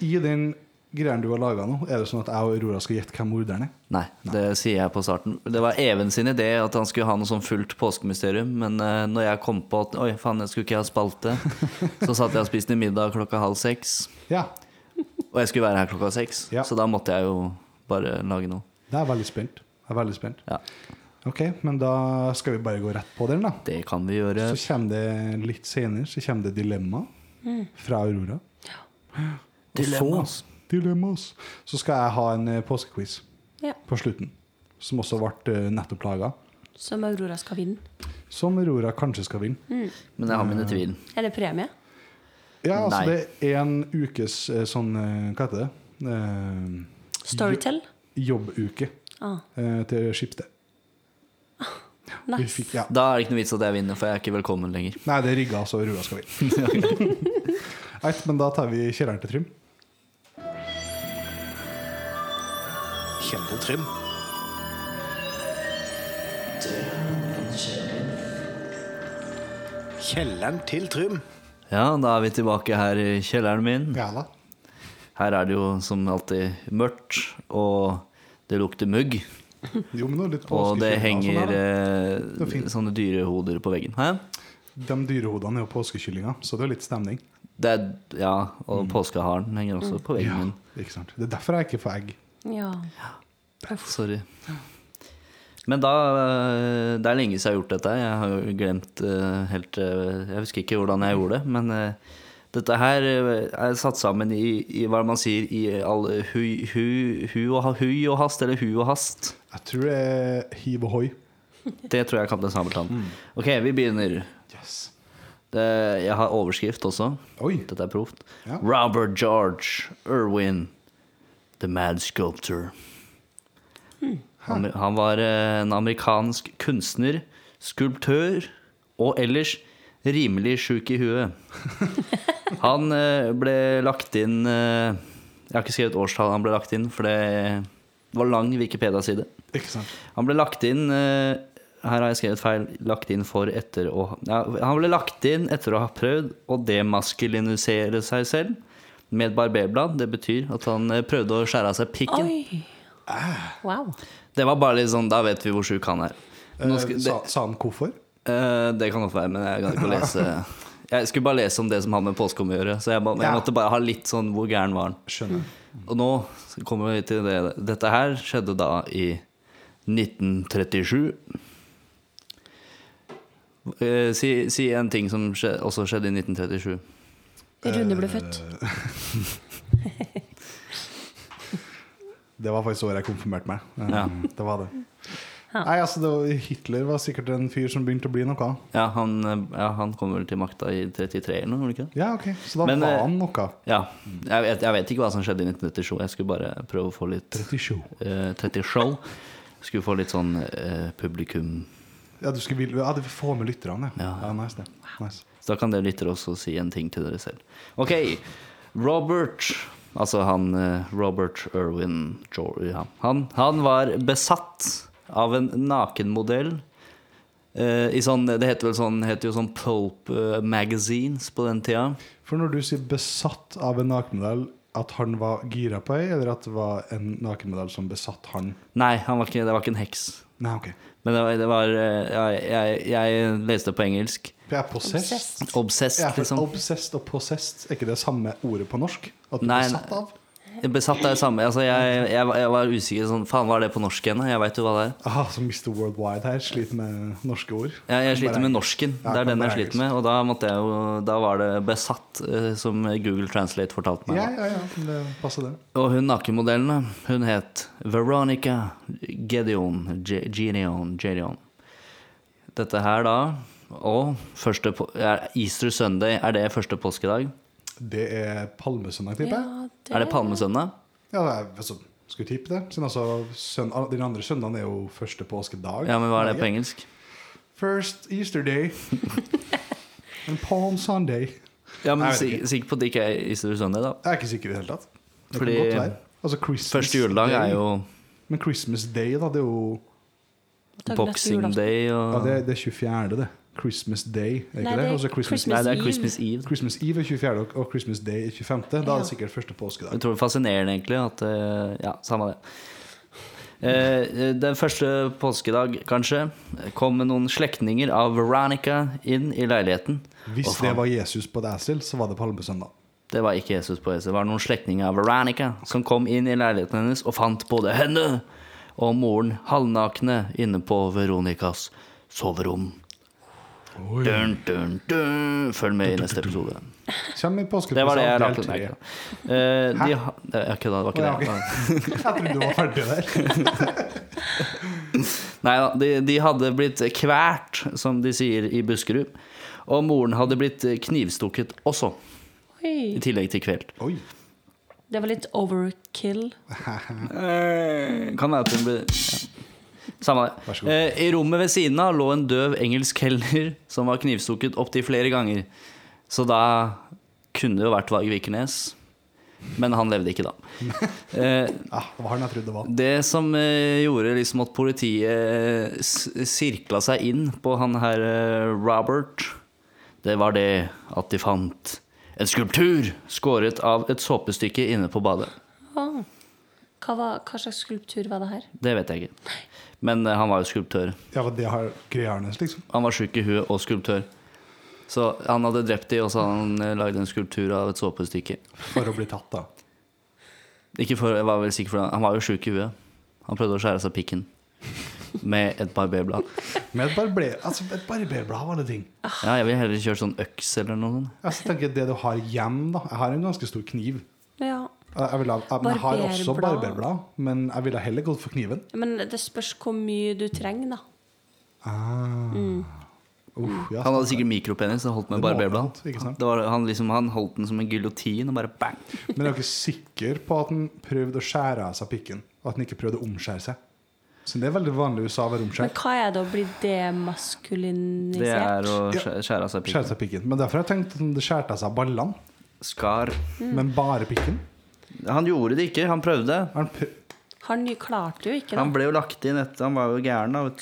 Speaker 1: det. I den greien du har laga nå, er det sånn at jeg og Aurora skal gjette hvem morderen er?
Speaker 2: nei, det sier jeg på starten. Det var Even sin idé at han skulle ha noe sånn fullt påskemysterium, men eh, når jeg kom på at 'oi, faen, jeg skulle ikke ha spalte', så satt jeg og spiste middag klokka halv seks.
Speaker 1: Ja.
Speaker 2: Og jeg skulle være her klokka seks,
Speaker 1: Ja.
Speaker 2: så da måtte jeg jo bare lage noe.
Speaker 1: Det er veldig spent. Jeg er veldig spent.
Speaker 2: Ja,
Speaker 1: Ok, men da skal vi bare gå rett på den, da.
Speaker 2: Det kan vi gjøre.
Speaker 1: Så kommer det litt senere så kommer det dilemma fra Aurora. Og
Speaker 2: Dilemmas.
Speaker 1: Så, dilemmas. Så skal jeg ha en eh, påskequiz
Speaker 3: Ja.
Speaker 1: på slutten, som også ble eh, nettopp laga.
Speaker 3: Som Aurora skal vinne. Mm.
Speaker 1: Som Aurora kanskje skal vinne.
Speaker 2: Men jeg har
Speaker 1: Mm.
Speaker 2: mine tvil.
Speaker 3: Er det premie?
Speaker 1: Ja, altså
Speaker 2: Nei.
Speaker 1: det er en ukes eh, sånn eh, Hva heter det? Eh,
Speaker 3: Storytell?
Speaker 1: jobbuke
Speaker 3: Ah,
Speaker 1: eh, til Skipsted. Vi
Speaker 3: nice.
Speaker 1: fikk- Ja.
Speaker 2: Da er det ikke noe vits at jeg vinner, for jeg er ikke velkommen lenger.
Speaker 1: Nei, det er rigga, så Aurora skal vinne. Eit, men da tar vi kjelleren til Trym.
Speaker 4: Kjente trim. Kjelleren til Trym.
Speaker 2: Ja, da er vi tilbake her i kjelleren min.
Speaker 1: Ja da.
Speaker 2: Her er det jo som alltid mørkt, og det lukter mugg.
Speaker 1: Jo, men nå litt
Speaker 2: Og det
Speaker 1: påskekyllinger og sånn her,
Speaker 2: henger
Speaker 1: Det er
Speaker 2: eh,
Speaker 1: fint.
Speaker 2: sånne dyrehoder på veggen. Hæ?
Speaker 1: da. De dyrehodene er jo påskekyllinger, så det er jo litt stemning.
Speaker 2: Det er, ja, og påskeharen henger også på veggen min.
Speaker 1: Ikke sant? Det er derfor jeg ikke får egg.
Speaker 3: Ja.
Speaker 2: Sorry. Men da eh, Det er lenge siden jeg har gjort dette. Jeg har jo glemt eh, helt eh, Jeg husker ikke hvordan jeg gjorde det, men eh, Dette her eh, er satt sammen i, i hva man sier i all hu, hu, hu, og, ha- hui og hast, eller hu og hast.
Speaker 1: Jeg tror det er hiv ohoi.
Speaker 2: Det tror jeg er Kaptein Sabeltann.
Speaker 1: Mm.
Speaker 2: Ok, vi begynner.
Speaker 1: Yes.
Speaker 2: Det, jeg har overskrift også.
Speaker 1: Oi.
Speaker 2: Dette er proft.
Speaker 1: Ja.
Speaker 2: Robert George Irwin, the mad sculptor. Han, han var eh, en amerikansk kunstner, skulptør og ellers rimelig sjuk i huet. Han eh, ble lagt inn eh, Jeg har ikke skrevet årstall han ble lagt inn, for det var lang Wikipedia-side.
Speaker 1: Ikke sant.
Speaker 2: Han ble lagt inn eh, Her har jeg skrevet feil. Lagt inn for etter å ja, Han ble lagt inn etter å ha prøvd å demaskulinisere seg selv med et barberblad. Det betyr at han eh, prøvde å skjære av seg pikken.
Speaker 3: Oi! Wow.
Speaker 2: Det var bare litt sånn Da vet vi hvor sjuk han er. Nå skal,
Speaker 1: Eh,
Speaker 2: det,
Speaker 1: sa, sa han hvorfor?
Speaker 2: eh, det kan godt være, men jeg kan ikke lese Jeg skulle bare lese om det som har med påskeom å gjøre. Så jeg, ba, jeg
Speaker 1: Ja.
Speaker 2: måtte bare ha litt sånn Hvor gæren var han?
Speaker 1: Skjønner.
Speaker 2: Og nå kommer vi til det. Dette her skjedde da i 1937. Eh, Si, si en ting som skje, også skjedde i 1937.
Speaker 3: Rune ble født.
Speaker 2: Eh,
Speaker 1: Det var faktisk året jeg konfirmerte meg. Eh,
Speaker 2: Ja.
Speaker 1: Det var det. Nei, altså, det var, Hitler var sikkert en fyr som begynte å bli noe.
Speaker 2: Ja, han, eh, ja, han kom vel til makta i 33 eller noe, var det ikke det?
Speaker 1: Ja, ok. Så da
Speaker 2: Men, eh,
Speaker 1: var han noe.
Speaker 2: Ja. Jeg vet, jeg vet ikke hva som skjedde i 1937. Jeg skulle bare prøve å få litt
Speaker 1: 37.
Speaker 2: eh, 30 show. Skulle få litt sånn eh, publikum
Speaker 1: Ja, du skulle vil, ja, du får få med lytterne. Ja.
Speaker 2: Ja.
Speaker 1: Ja, nice, det. Nice.
Speaker 2: Så da kan dere lyttere også si en ting til dere selv. Ok, Robert Altså han eh, Robert Irwin Jory, ja. han, han var besatt av en nakenmodell. eh, I sånn, det heter vel sånn, heter jo sånn pulp eh, magazines på den tida.
Speaker 1: For når du sier 'besatt av en nakenmodell', at han var gira på ei, eller at det var en nakenmodell som besatt han?
Speaker 2: Nei, han var ikke, det var ikke en heks.
Speaker 1: Nei, ok.
Speaker 2: Men det var, det var eh, jeg, jeg, jeg leste det på engelsk.
Speaker 1: For jeg er possessed.
Speaker 3: Obsessed.
Speaker 1: Ja,
Speaker 2: Obsessed,
Speaker 1: for
Speaker 2: liksom.
Speaker 1: Obsessed og possessed er ikke det samme ordet på norsk? At du
Speaker 2: Nei,
Speaker 1: er besatt av?
Speaker 2: Besatt er det samme. Altså, jeg, jeg, var- jeg var usikker sånn Faen, hva er det på norsk igjen? da? Jeg veit jo hva det er.
Speaker 1: Ah, så Mr. Worldwide her sliter med norske ord.
Speaker 2: Ja, jeg sliter
Speaker 1: Bare
Speaker 2: med norsken.
Speaker 1: Ja,
Speaker 2: det er
Speaker 1: kan
Speaker 2: den jeg
Speaker 1: bare
Speaker 2: sliter med. Og da, måtte jeg jo, da var det besatt, eh, som Google Translate fortalte meg.
Speaker 1: Ja,
Speaker 2: da.
Speaker 1: ja, ja. men Det passer, det.
Speaker 2: Og hun nakenmodellen, da, hun het Veronica Gedeon. Ge- Gedeon, Gedeon. Dette her, da. Og første på, er Easter Sunday, er det første påskedag?
Speaker 1: Det er palmesøndag, tipper jeg.
Speaker 2: Er det palmesøndag?
Speaker 1: Ja, det er, altså, skulle tippe det. Siden altså, søn, den andre søndagen er jo første påskedag.
Speaker 2: Ja, men hva er det på engelsk?
Speaker 1: First Easter day. And Palm Sunday.
Speaker 2: Ja, men
Speaker 1: Jeg vet
Speaker 2: sik-
Speaker 1: ikke.
Speaker 2: Sikker på at det ikke er Easter Sunday, da.
Speaker 1: Jeg er ikke sikker i det hele tatt. Det
Speaker 2: Fordi
Speaker 1: kan godt være. Altså, Christmas
Speaker 2: Første juledag
Speaker 1: Day.
Speaker 2: er jo
Speaker 1: Men Christmas Day, da, det er jo
Speaker 2: Boxing Day
Speaker 1: ja,
Speaker 2: og
Speaker 1: det, det er 24., det. Christmas Day, er ikke
Speaker 3: Nei,
Speaker 1: det?
Speaker 3: det er
Speaker 1: Og så Christmas,
Speaker 2: Nei, det er Christmas Eve.
Speaker 1: Christmas Eve er 24., og- og Christmas Day er 25. Da er det
Speaker 3: Ja.
Speaker 1: sikkert første påskedag.
Speaker 2: Jeg tror det er fascinerende egentlig at eh, Ja, samme det. Eh, Den første påskedag, kanskje, kom noen slektninger av Veronica inn i leiligheten.
Speaker 1: Hvis
Speaker 2: Å, faen.
Speaker 1: det var Jesus på Dæsel, så var det palmesøndag.
Speaker 2: Det var ikke Jesus på Jesus. Det var noen slektninger av Veronica som kom inn i leiligheten hennes og fant både henne og moren halvnakne inne på Veronicas soverom. Dun, dun, dun. Følg med i neste episode.
Speaker 1: Kjem i påskedag.
Speaker 2: Det var sånn det jeg rakk å merke. Eh, de ha- Jeg kødda, det var
Speaker 1: Ja,
Speaker 2: ikke
Speaker 1: ok.
Speaker 2: det.
Speaker 1: Jeg trodde du var ferdig der.
Speaker 2: Nei da, de, de hadde blitt kvært, som de sier i Buskerud. Og moren hadde blitt knivstukket også, i
Speaker 3: Oi.
Speaker 2: tillegg til kvelt.
Speaker 1: Oi.
Speaker 3: Det var litt overkill.
Speaker 2: Eh, Kan være at hun ble ja. Samme det.
Speaker 1: Vær så god.
Speaker 2: Eh, I rommet ved siden av lå en døv engelsk kelner som var knivstukket opptil flere ganger. Så da kunne det jo vært Varg Vikernes. Men han levde ikke da. Eh,
Speaker 1: Ja, Ah, det var han jeg trodde det var.
Speaker 2: Det som eh, gjorde liksom at politiet eh, s- sirkla seg inn på han her eh, Robert, det var det at de fant en skulptur skåret av et såpestykke inne på badet.
Speaker 3: Ah. Hva, var, hva slags skulptur var det her?
Speaker 2: Det vet jeg ikke. Men eh, han var jo skulptør.
Speaker 1: Ja, men det har greia hans, liksom.
Speaker 2: Han var sjuk i huet og skulptør. Så han hadde drept de, og så hadde han eh, lagd en skulptur av et såpestykke.
Speaker 1: For å bli tatt, da.
Speaker 2: Ikke for, jeg var vel sikker for det. Han var jo sjuk i huet. Han prøvde å skjære seg pikken. med et barberblad.
Speaker 1: Med et barber- altså, et barberblad av alle ting.
Speaker 2: Ja, jeg vil heller kjøre sånn øks eller noe sånt.
Speaker 1: Altså, tenker jeg det du har hjem, da. Jeg har en ganske stor kniv.
Speaker 3: Ja.
Speaker 1: Jeg, jeg, vil ha, jeg, men jeg har også
Speaker 3: Barberblad.
Speaker 1: barberblad, men jeg ville heller gått for kniven.
Speaker 3: Men det spørs hvor mye du trenger, da.
Speaker 1: Ah.
Speaker 3: Mm.
Speaker 1: Uff, ja,
Speaker 2: Han hadde sikkert mikropenis og holdt med
Speaker 1: Det må han ha
Speaker 2: barberblad.
Speaker 1: hatt, ikke sant?
Speaker 2: Det var, han, liksom, han holdt den som en giljotin og bare bang.
Speaker 1: Men jeg er ikke sikker på at han prøvde å skjære av seg pikken. Og at han ikke prøvde å omskjære seg. Så det er veldig vanlig i USA å være
Speaker 3: Men
Speaker 1: omskjært.
Speaker 3: hva er det å bli
Speaker 2: Det er
Speaker 3: demaskulinisert?
Speaker 2: å
Speaker 1: Ja.
Speaker 2: skjæ- skjære av seg
Speaker 1: Skjære
Speaker 2: pikken.
Speaker 1: seg pikken. Men derfor har jeg tenkt at det skjærte seg av ballene,
Speaker 2: Skar.
Speaker 3: Mm.
Speaker 1: men bare pikken.
Speaker 2: Han gjorde det ikke, han prøvde.
Speaker 1: Han prø
Speaker 3: Han klarte jo ikke det.
Speaker 2: Han ble jo lagt inn etter Han var jo gæren, da, vet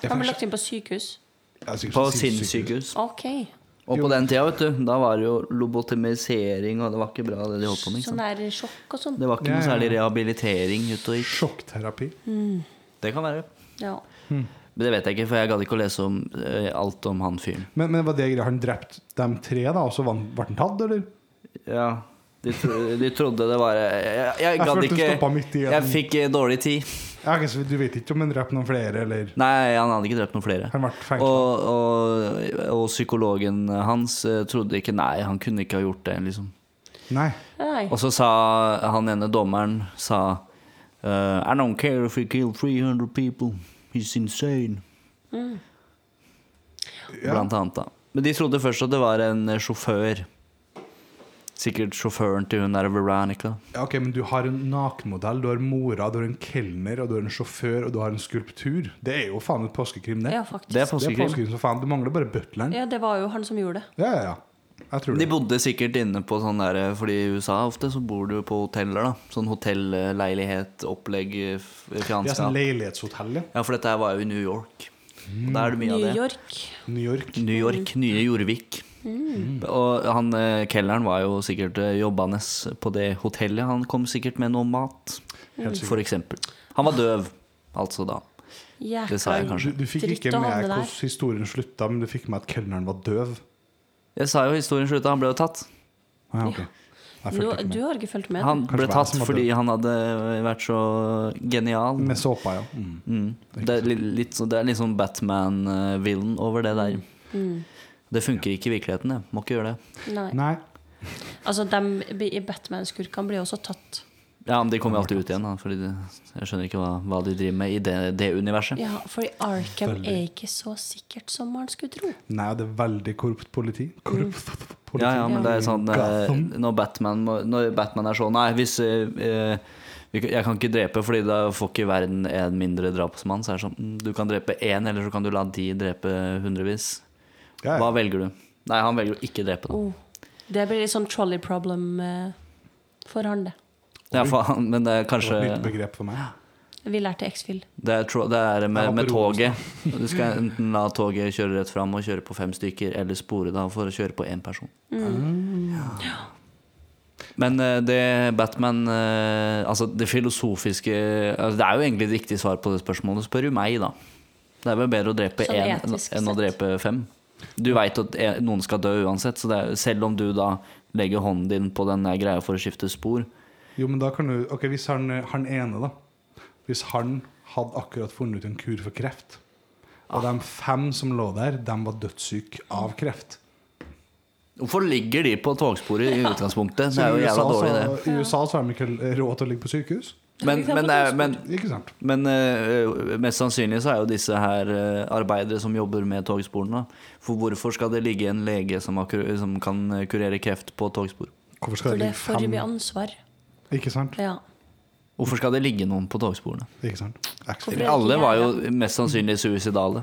Speaker 2: du.
Speaker 3: Han ble lagt inn på sykehus.
Speaker 1: Jeg er sikkert
Speaker 2: På
Speaker 1: så sinnssyk.
Speaker 2: sinnssykehus.
Speaker 3: OK.
Speaker 2: Og på den tida, vet du, da var det jo lobotomisering, og det var ikke bra det de holdt på med. ikke sant?
Speaker 3: Sånn der sjokk og sånn.
Speaker 2: Liksom. Det var ikke
Speaker 1: Ja,
Speaker 2: noe
Speaker 1: ja.
Speaker 2: særlig rehabilitering ute og gikk.
Speaker 1: Sjokkterapi.
Speaker 2: Det kan være.
Speaker 3: Ja.
Speaker 2: Men det vet jeg ikke, for jeg gadd ikke å lese om eh, alt om han fyren.
Speaker 1: Men, men var det greia? Han drepte de tre, da, og så var han- ble han tatt, eller?
Speaker 2: Ja, de, tro, de trodde det var Jeg, jeg, jeg gadd
Speaker 1: følte du
Speaker 2: ikke
Speaker 1: stoppet midt i en-
Speaker 2: Jeg fikk eh, dårlig tid.
Speaker 1: Ja, ok, så du vet ikke om han drepte noen flere, eller
Speaker 2: Nei, han hadde ikke drept noen flere.
Speaker 1: Han ble fengslet.
Speaker 2: Og, og, og psykologen hans eh, trodde ikke Nei, han kunne ikke ha gjort det, liksom.
Speaker 1: Nei.
Speaker 3: Nei.
Speaker 2: Og sånn, så sa han ene dommeren sa eh, I don't care if he killed 300 people. He's insane. Mm. Blant annet, da. Men de trodde først at det var en eh, sjåfør. Sikkert sjåføren til hun der Veronica.
Speaker 1: Ja, ok, men du har en nakenmodell, du har mora, du har en kelner, og du har en sjåfør, og du har en skulptur. Det er jo faen et påskekrim, det.
Speaker 2: Det er
Speaker 3: Ja,
Speaker 2: sånn.
Speaker 3: faktisk.
Speaker 1: Det er
Speaker 2: påskekrim.
Speaker 1: påskekrim som faen. Du mangler bare butleren. Ja,
Speaker 3: Ja, det var jo han som gjorde det.
Speaker 1: ja, ja. Jeg tror
Speaker 2: De
Speaker 1: det.
Speaker 2: bodde sikkert inne på sånn der eh, Fordi i USA ofte så bor du jo på hoteller, da. Sånn hotelleilighet, opplegg, eh, f-
Speaker 1: Det er sånn
Speaker 2: fianskap.
Speaker 1: leilighetshotell, ja.
Speaker 2: Ja, for dette her var jo i New York. Og Da er det mye av
Speaker 3: New
Speaker 2: det.
Speaker 3: York. Mm.
Speaker 1: New York.
Speaker 2: New York, nye Jorvik. Og han eh, kelleren var jo sikkert eh, jobbende på det hotellet. Han kom sikkert med noe mat,
Speaker 1: Helt sikkert.
Speaker 2: for eksempel. Han var døv, altså da. Det sa jeg
Speaker 3: Jækla
Speaker 1: Du,
Speaker 2: kanskje.
Speaker 1: du fikk
Speaker 3: Dritt
Speaker 1: ikke
Speaker 3: å
Speaker 1: med
Speaker 3: havne der.
Speaker 1: hvordan historien slutta, men du fikk med at kelneren var døv.
Speaker 2: Jeg sa jo historien slutta, han ble jo tatt.
Speaker 1: Ah, ja, ok. Jeg fulgte
Speaker 3: Du,
Speaker 1: ikke
Speaker 3: du
Speaker 1: med.
Speaker 3: har ikke fulgt med?
Speaker 2: Han
Speaker 1: Kanskje
Speaker 2: ble
Speaker 1: det var jeg
Speaker 2: tatt
Speaker 1: som var
Speaker 2: fordi han hadde vært så genial.
Speaker 1: Med såpa, ja. Mm.
Speaker 2: Mm. Det, er litt, litt, så- det er litt sånn Batman-villen over det der.
Speaker 3: Mm.
Speaker 2: Det funker ikke i virkeligheten, det. Må ikke gjøre det.
Speaker 3: Nei.
Speaker 1: Nei.
Speaker 3: Altså, dem blir- i Batman-skurkene blir også tatt.
Speaker 2: Ja, men de kommer jo alltid ut igjen, da. Fordi det, jeg skjønner ikke hva, hva de driver med i det, det universet.
Speaker 3: Ja, for i Arkham er ikke så sikkert som man skulle tro.
Speaker 1: Nei, det er veldig korrupt politi. Korrupt politi.
Speaker 2: Mm. Ja, ja, men det er sånn eh,
Speaker 1: Gotham.
Speaker 2: når, Batman, må- når Batman er sånn Nei, hvis eh, eh, vi kan- jeg kan ikke drepe, fordi da får ikke verden en mindre drapsmann. Så er det sånn mm, Du kan drepe én, eller så kan du la de drepe hundrevis.
Speaker 1: Ja, ja.
Speaker 2: Hva velger du? Nei, han velger å ikke drepe, da.
Speaker 3: Oh. Det blir litt sånn trolley problem eh, for han, det.
Speaker 2: Ja, for han, men det er
Speaker 1: Det var et nytt
Speaker 2: kanskje
Speaker 1: begrep for meg.
Speaker 3: Vi lærte X-Fil.
Speaker 2: Det er, tro, det er
Speaker 1: Jeg
Speaker 2: med,
Speaker 1: var
Speaker 2: med
Speaker 1: på
Speaker 2: toget. Du skal enten la toget kjøre rett fram og kjøre på fem stykker, eller spore da for å kjøre på én person.
Speaker 3: Mm.
Speaker 1: Ah,
Speaker 2: Men eh, det Batman eh, Altså det filosofiske altså, Det er jo egentlig et riktig svar på det spørsmålet, spør du meg, da. Det er vel bedre å drepe
Speaker 3: Sånn
Speaker 2: én enn
Speaker 3: etisk
Speaker 2: enn å
Speaker 3: sett.
Speaker 2: drepe fem. Du veit at en- noen skal dø uansett, så det er, selv om du da legger hånden din på den der greia for å skifte spor
Speaker 1: Jo, men da kan du Ok, hvis han, han ene, da. Hvis han hadde akkurat funnet ut en kur for kreft, og
Speaker 2: Ah.
Speaker 1: de fem som lå der, de var dødssyke av kreft
Speaker 2: Hvorfor ligger de på togsporet i utgangspunktet? Det er jo
Speaker 1: i USA,
Speaker 2: jævla dårlig, det.
Speaker 1: så, I USA så har de ikke råd til å ligge på sykehus.
Speaker 2: Men, men, det er- men,
Speaker 1: Ikke sant?
Speaker 2: men eh, mest sannsynlig så er jo disse her eh, arbeidere som jobber med togsporene. For hvorfor skal det ligge en lege som, har, kur- som kan eh, kurere kreft på togspor?
Speaker 1: Hvorfor skal
Speaker 3: For
Speaker 1: det
Speaker 3: det er
Speaker 1: ligge
Speaker 3: for mye
Speaker 1: fem
Speaker 3: ansvar.
Speaker 1: Ikke sant?
Speaker 3: Ja.
Speaker 2: Hvorfor skal det ligge noen på togsporene?
Speaker 1: Ikke sant? Action.
Speaker 3: Hvorfor er det
Speaker 2: Alle
Speaker 3: ikke
Speaker 2: var
Speaker 3: jeg,
Speaker 2: jo mest sannsynlig suicidale.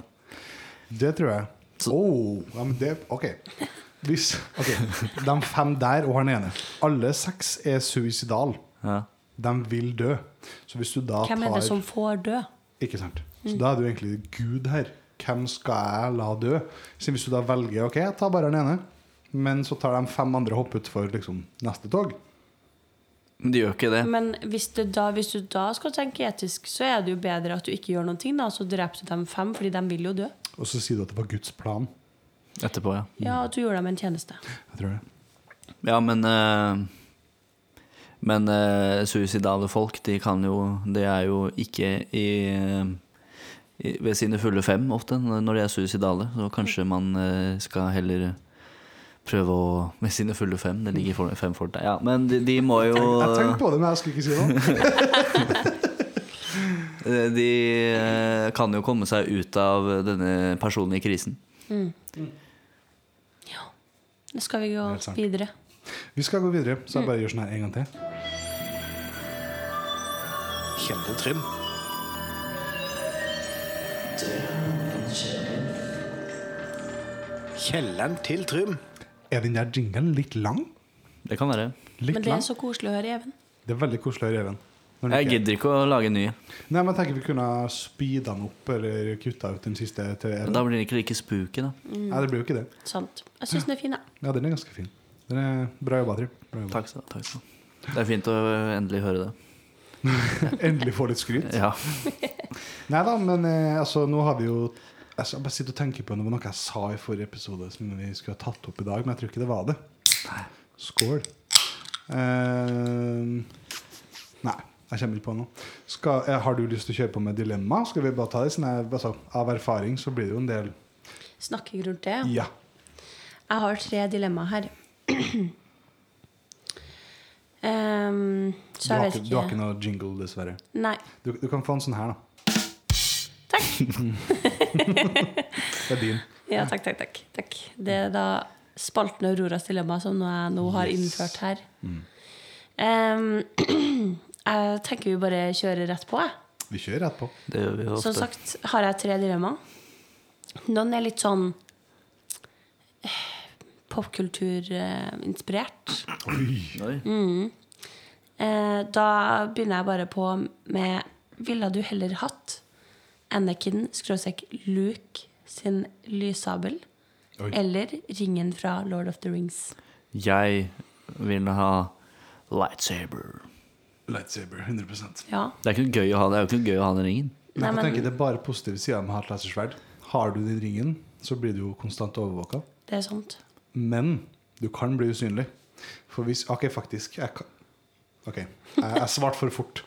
Speaker 1: Det tror jeg.
Speaker 2: Så-
Speaker 1: Oh, ja, men det, ok. Hvis, ok, De fem der og han ene. Alle seks er suicidal.
Speaker 2: Ja.
Speaker 1: De vil dø. Så hvis du da
Speaker 3: Hvem er
Speaker 1: tar
Speaker 3: det som Mm. får dø?
Speaker 1: Ikke sant? Så da er du egentlig Gud her. Hvem skal jeg la dø? Så hvis du da velger Ok, jeg tar bare den ene, men så tar de fem andre hopp utfor liksom, neste tog.
Speaker 2: Men de gjør ikke det.
Speaker 3: Men hvis du, da, hvis du da skal tenke etisk, så er det jo bedre at du ikke gjør noen ting. Da. Så dreper du dem fem, fordi de vil jo dø.
Speaker 1: Og så sier du at det var Guds plan.
Speaker 2: Etterpå, ja.
Speaker 3: Ja, at du gjør dem en tjeneste.
Speaker 1: Jeg tror det.
Speaker 2: Ja, men eh, Men eh, suicidale folk, de kan jo Det er jo ikke i i- ved sine fulle fem ofte når når de er suicidale. Så kanskje man eh, skal heller prøve å Med sine fulle fem. Det ligger for, fem for deg. Ja, men de, de må jo
Speaker 1: Jeg tenkte på det, men jeg skulle ikke si noe.
Speaker 2: Eh, De eh, kan jo komme seg ut av denne personlige krisen.
Speaker 3: Nå skal vi gå
Speaker 1: Helt sant.
Speaker 3: videre.
Speaker 1: Vi skal gå videre, så jeg bare gjør sånn her en gang til.
Speaker 4: Kjeldetrim. Kjelleren til Trym.
Speaker 1: Er den der jinglen litt lang?
Speaker 2: Det kan være.
Speaker 1: Litt
Speaker 3: Men det er
Speaker 1: lang?
Speaker 3: så koselig å høre Even.
Speaker 1: Det er veldig koselig å høre Even. Når den
Speaker 2: Jeg
Speaker 1: ikke-
Speaker 2: gidder ikke å lage en ny.
Speaker 1: Nei, men jeg tenker vi kunne ha speeda den opp, eller kutta ut den siste til
Speaker 2: Men
Speaker 1: Even.
Speaker 2: Da blir det ikke like spooky, da.
Speaker 1: Nei, det blir jo ikke det.
Speaker 3: Sant. Jeg syns den er fin, jeg.
Speaker 1: Ja, den er ganske fin. Den er bra jobba, Trym. Bra jobba.
Speaker 2: Takk skal du ha. takk skal du ha. Det er fint å endelig høre det.
Speaker 1: Endelig få litt skryt.
Speaker 2: Ja.
Speaker 1: Nei da, men eh, altså, nå har vi jo altså, Jeg bare sitter og tenker på noe, noe jeg sa i forrige episode som vi skulle ha tatt opp i dag, men jeg tror ikke det var det. Skål. Eh, nei, jeg kommer ikke på noe. Skal, eh, har du lyst til å kjøre på med dilemma? Skal vi bare ta det? Sånn, eh, altså, av erfaring så blir det jo en del
Speaker 3: Snakker rundt det.
Speaker 1: Ja.
Speaker 3: Jeg har tre dilemmaer her. Ehm,
Speaker 1: Du
Speaker 3: så jeg
Speaker 1: har,
Speaker 3: vet
Speaker 1: ikke, du har ikke
Speaker 3: ikke
Speaker 1: noe jingle, dessverre.
Speaker 3: Nei.
Speaker 1: Du, du kan få en sånn her, da.
Speaker 3: Takk.
Speaker 1: Det er din.
Speaker 3: Ja, takk, takk, takk. takk. Det er da spalten Auroras dilemma som nå jeg nå har
Speaker 1: Yes. Mm.
Speaker 3: innført her. Ehm, jeg tenker vi bare kjører rett på. Jeg.
Speaker 1: Vi kjører rett på.
Speaker 2: Det gjør vi jo
Speaker 3: Som
Speaker 2: ofte.
Speaker 3: sagt har jeg tre dilemmaer. Noen er litt sånn eh, popkulturinspirert.
Speaker 1: Oi.
Speaker 2: Oi.
Speaker 3: Mm. Eh, da begynner jeg bare på med Ville du heller hatt Anakin skråstrek Luke sin lyssabel
Speaker 1: Oi.
Speaker 3: eller ringen fra Lord of the Rings?
Speaker 2: Jeg vil ha lightsaber.
Speaker 1: Lightsaber. 100
Speaker 3: Ja.
Speaker 2: Det er ikke noe gøy å ha, det er jo ikke noe gøy å ha den ringen.
Speaker 1: Nei,
Speaker 3: Nei,
Speaker 1: men...
Speaker 3: men-
Speaker 1: tenker, det er bare positive sider med å ha et lasersverd. Har du den ringen, så blir du jo konstant overvåka.
Speaker 3: Det er sant.
Speaker 1: Men du kan bli usynlig. For hvis OK, faktisk. Jeg kan OK, jeg, jeg svarte for fort.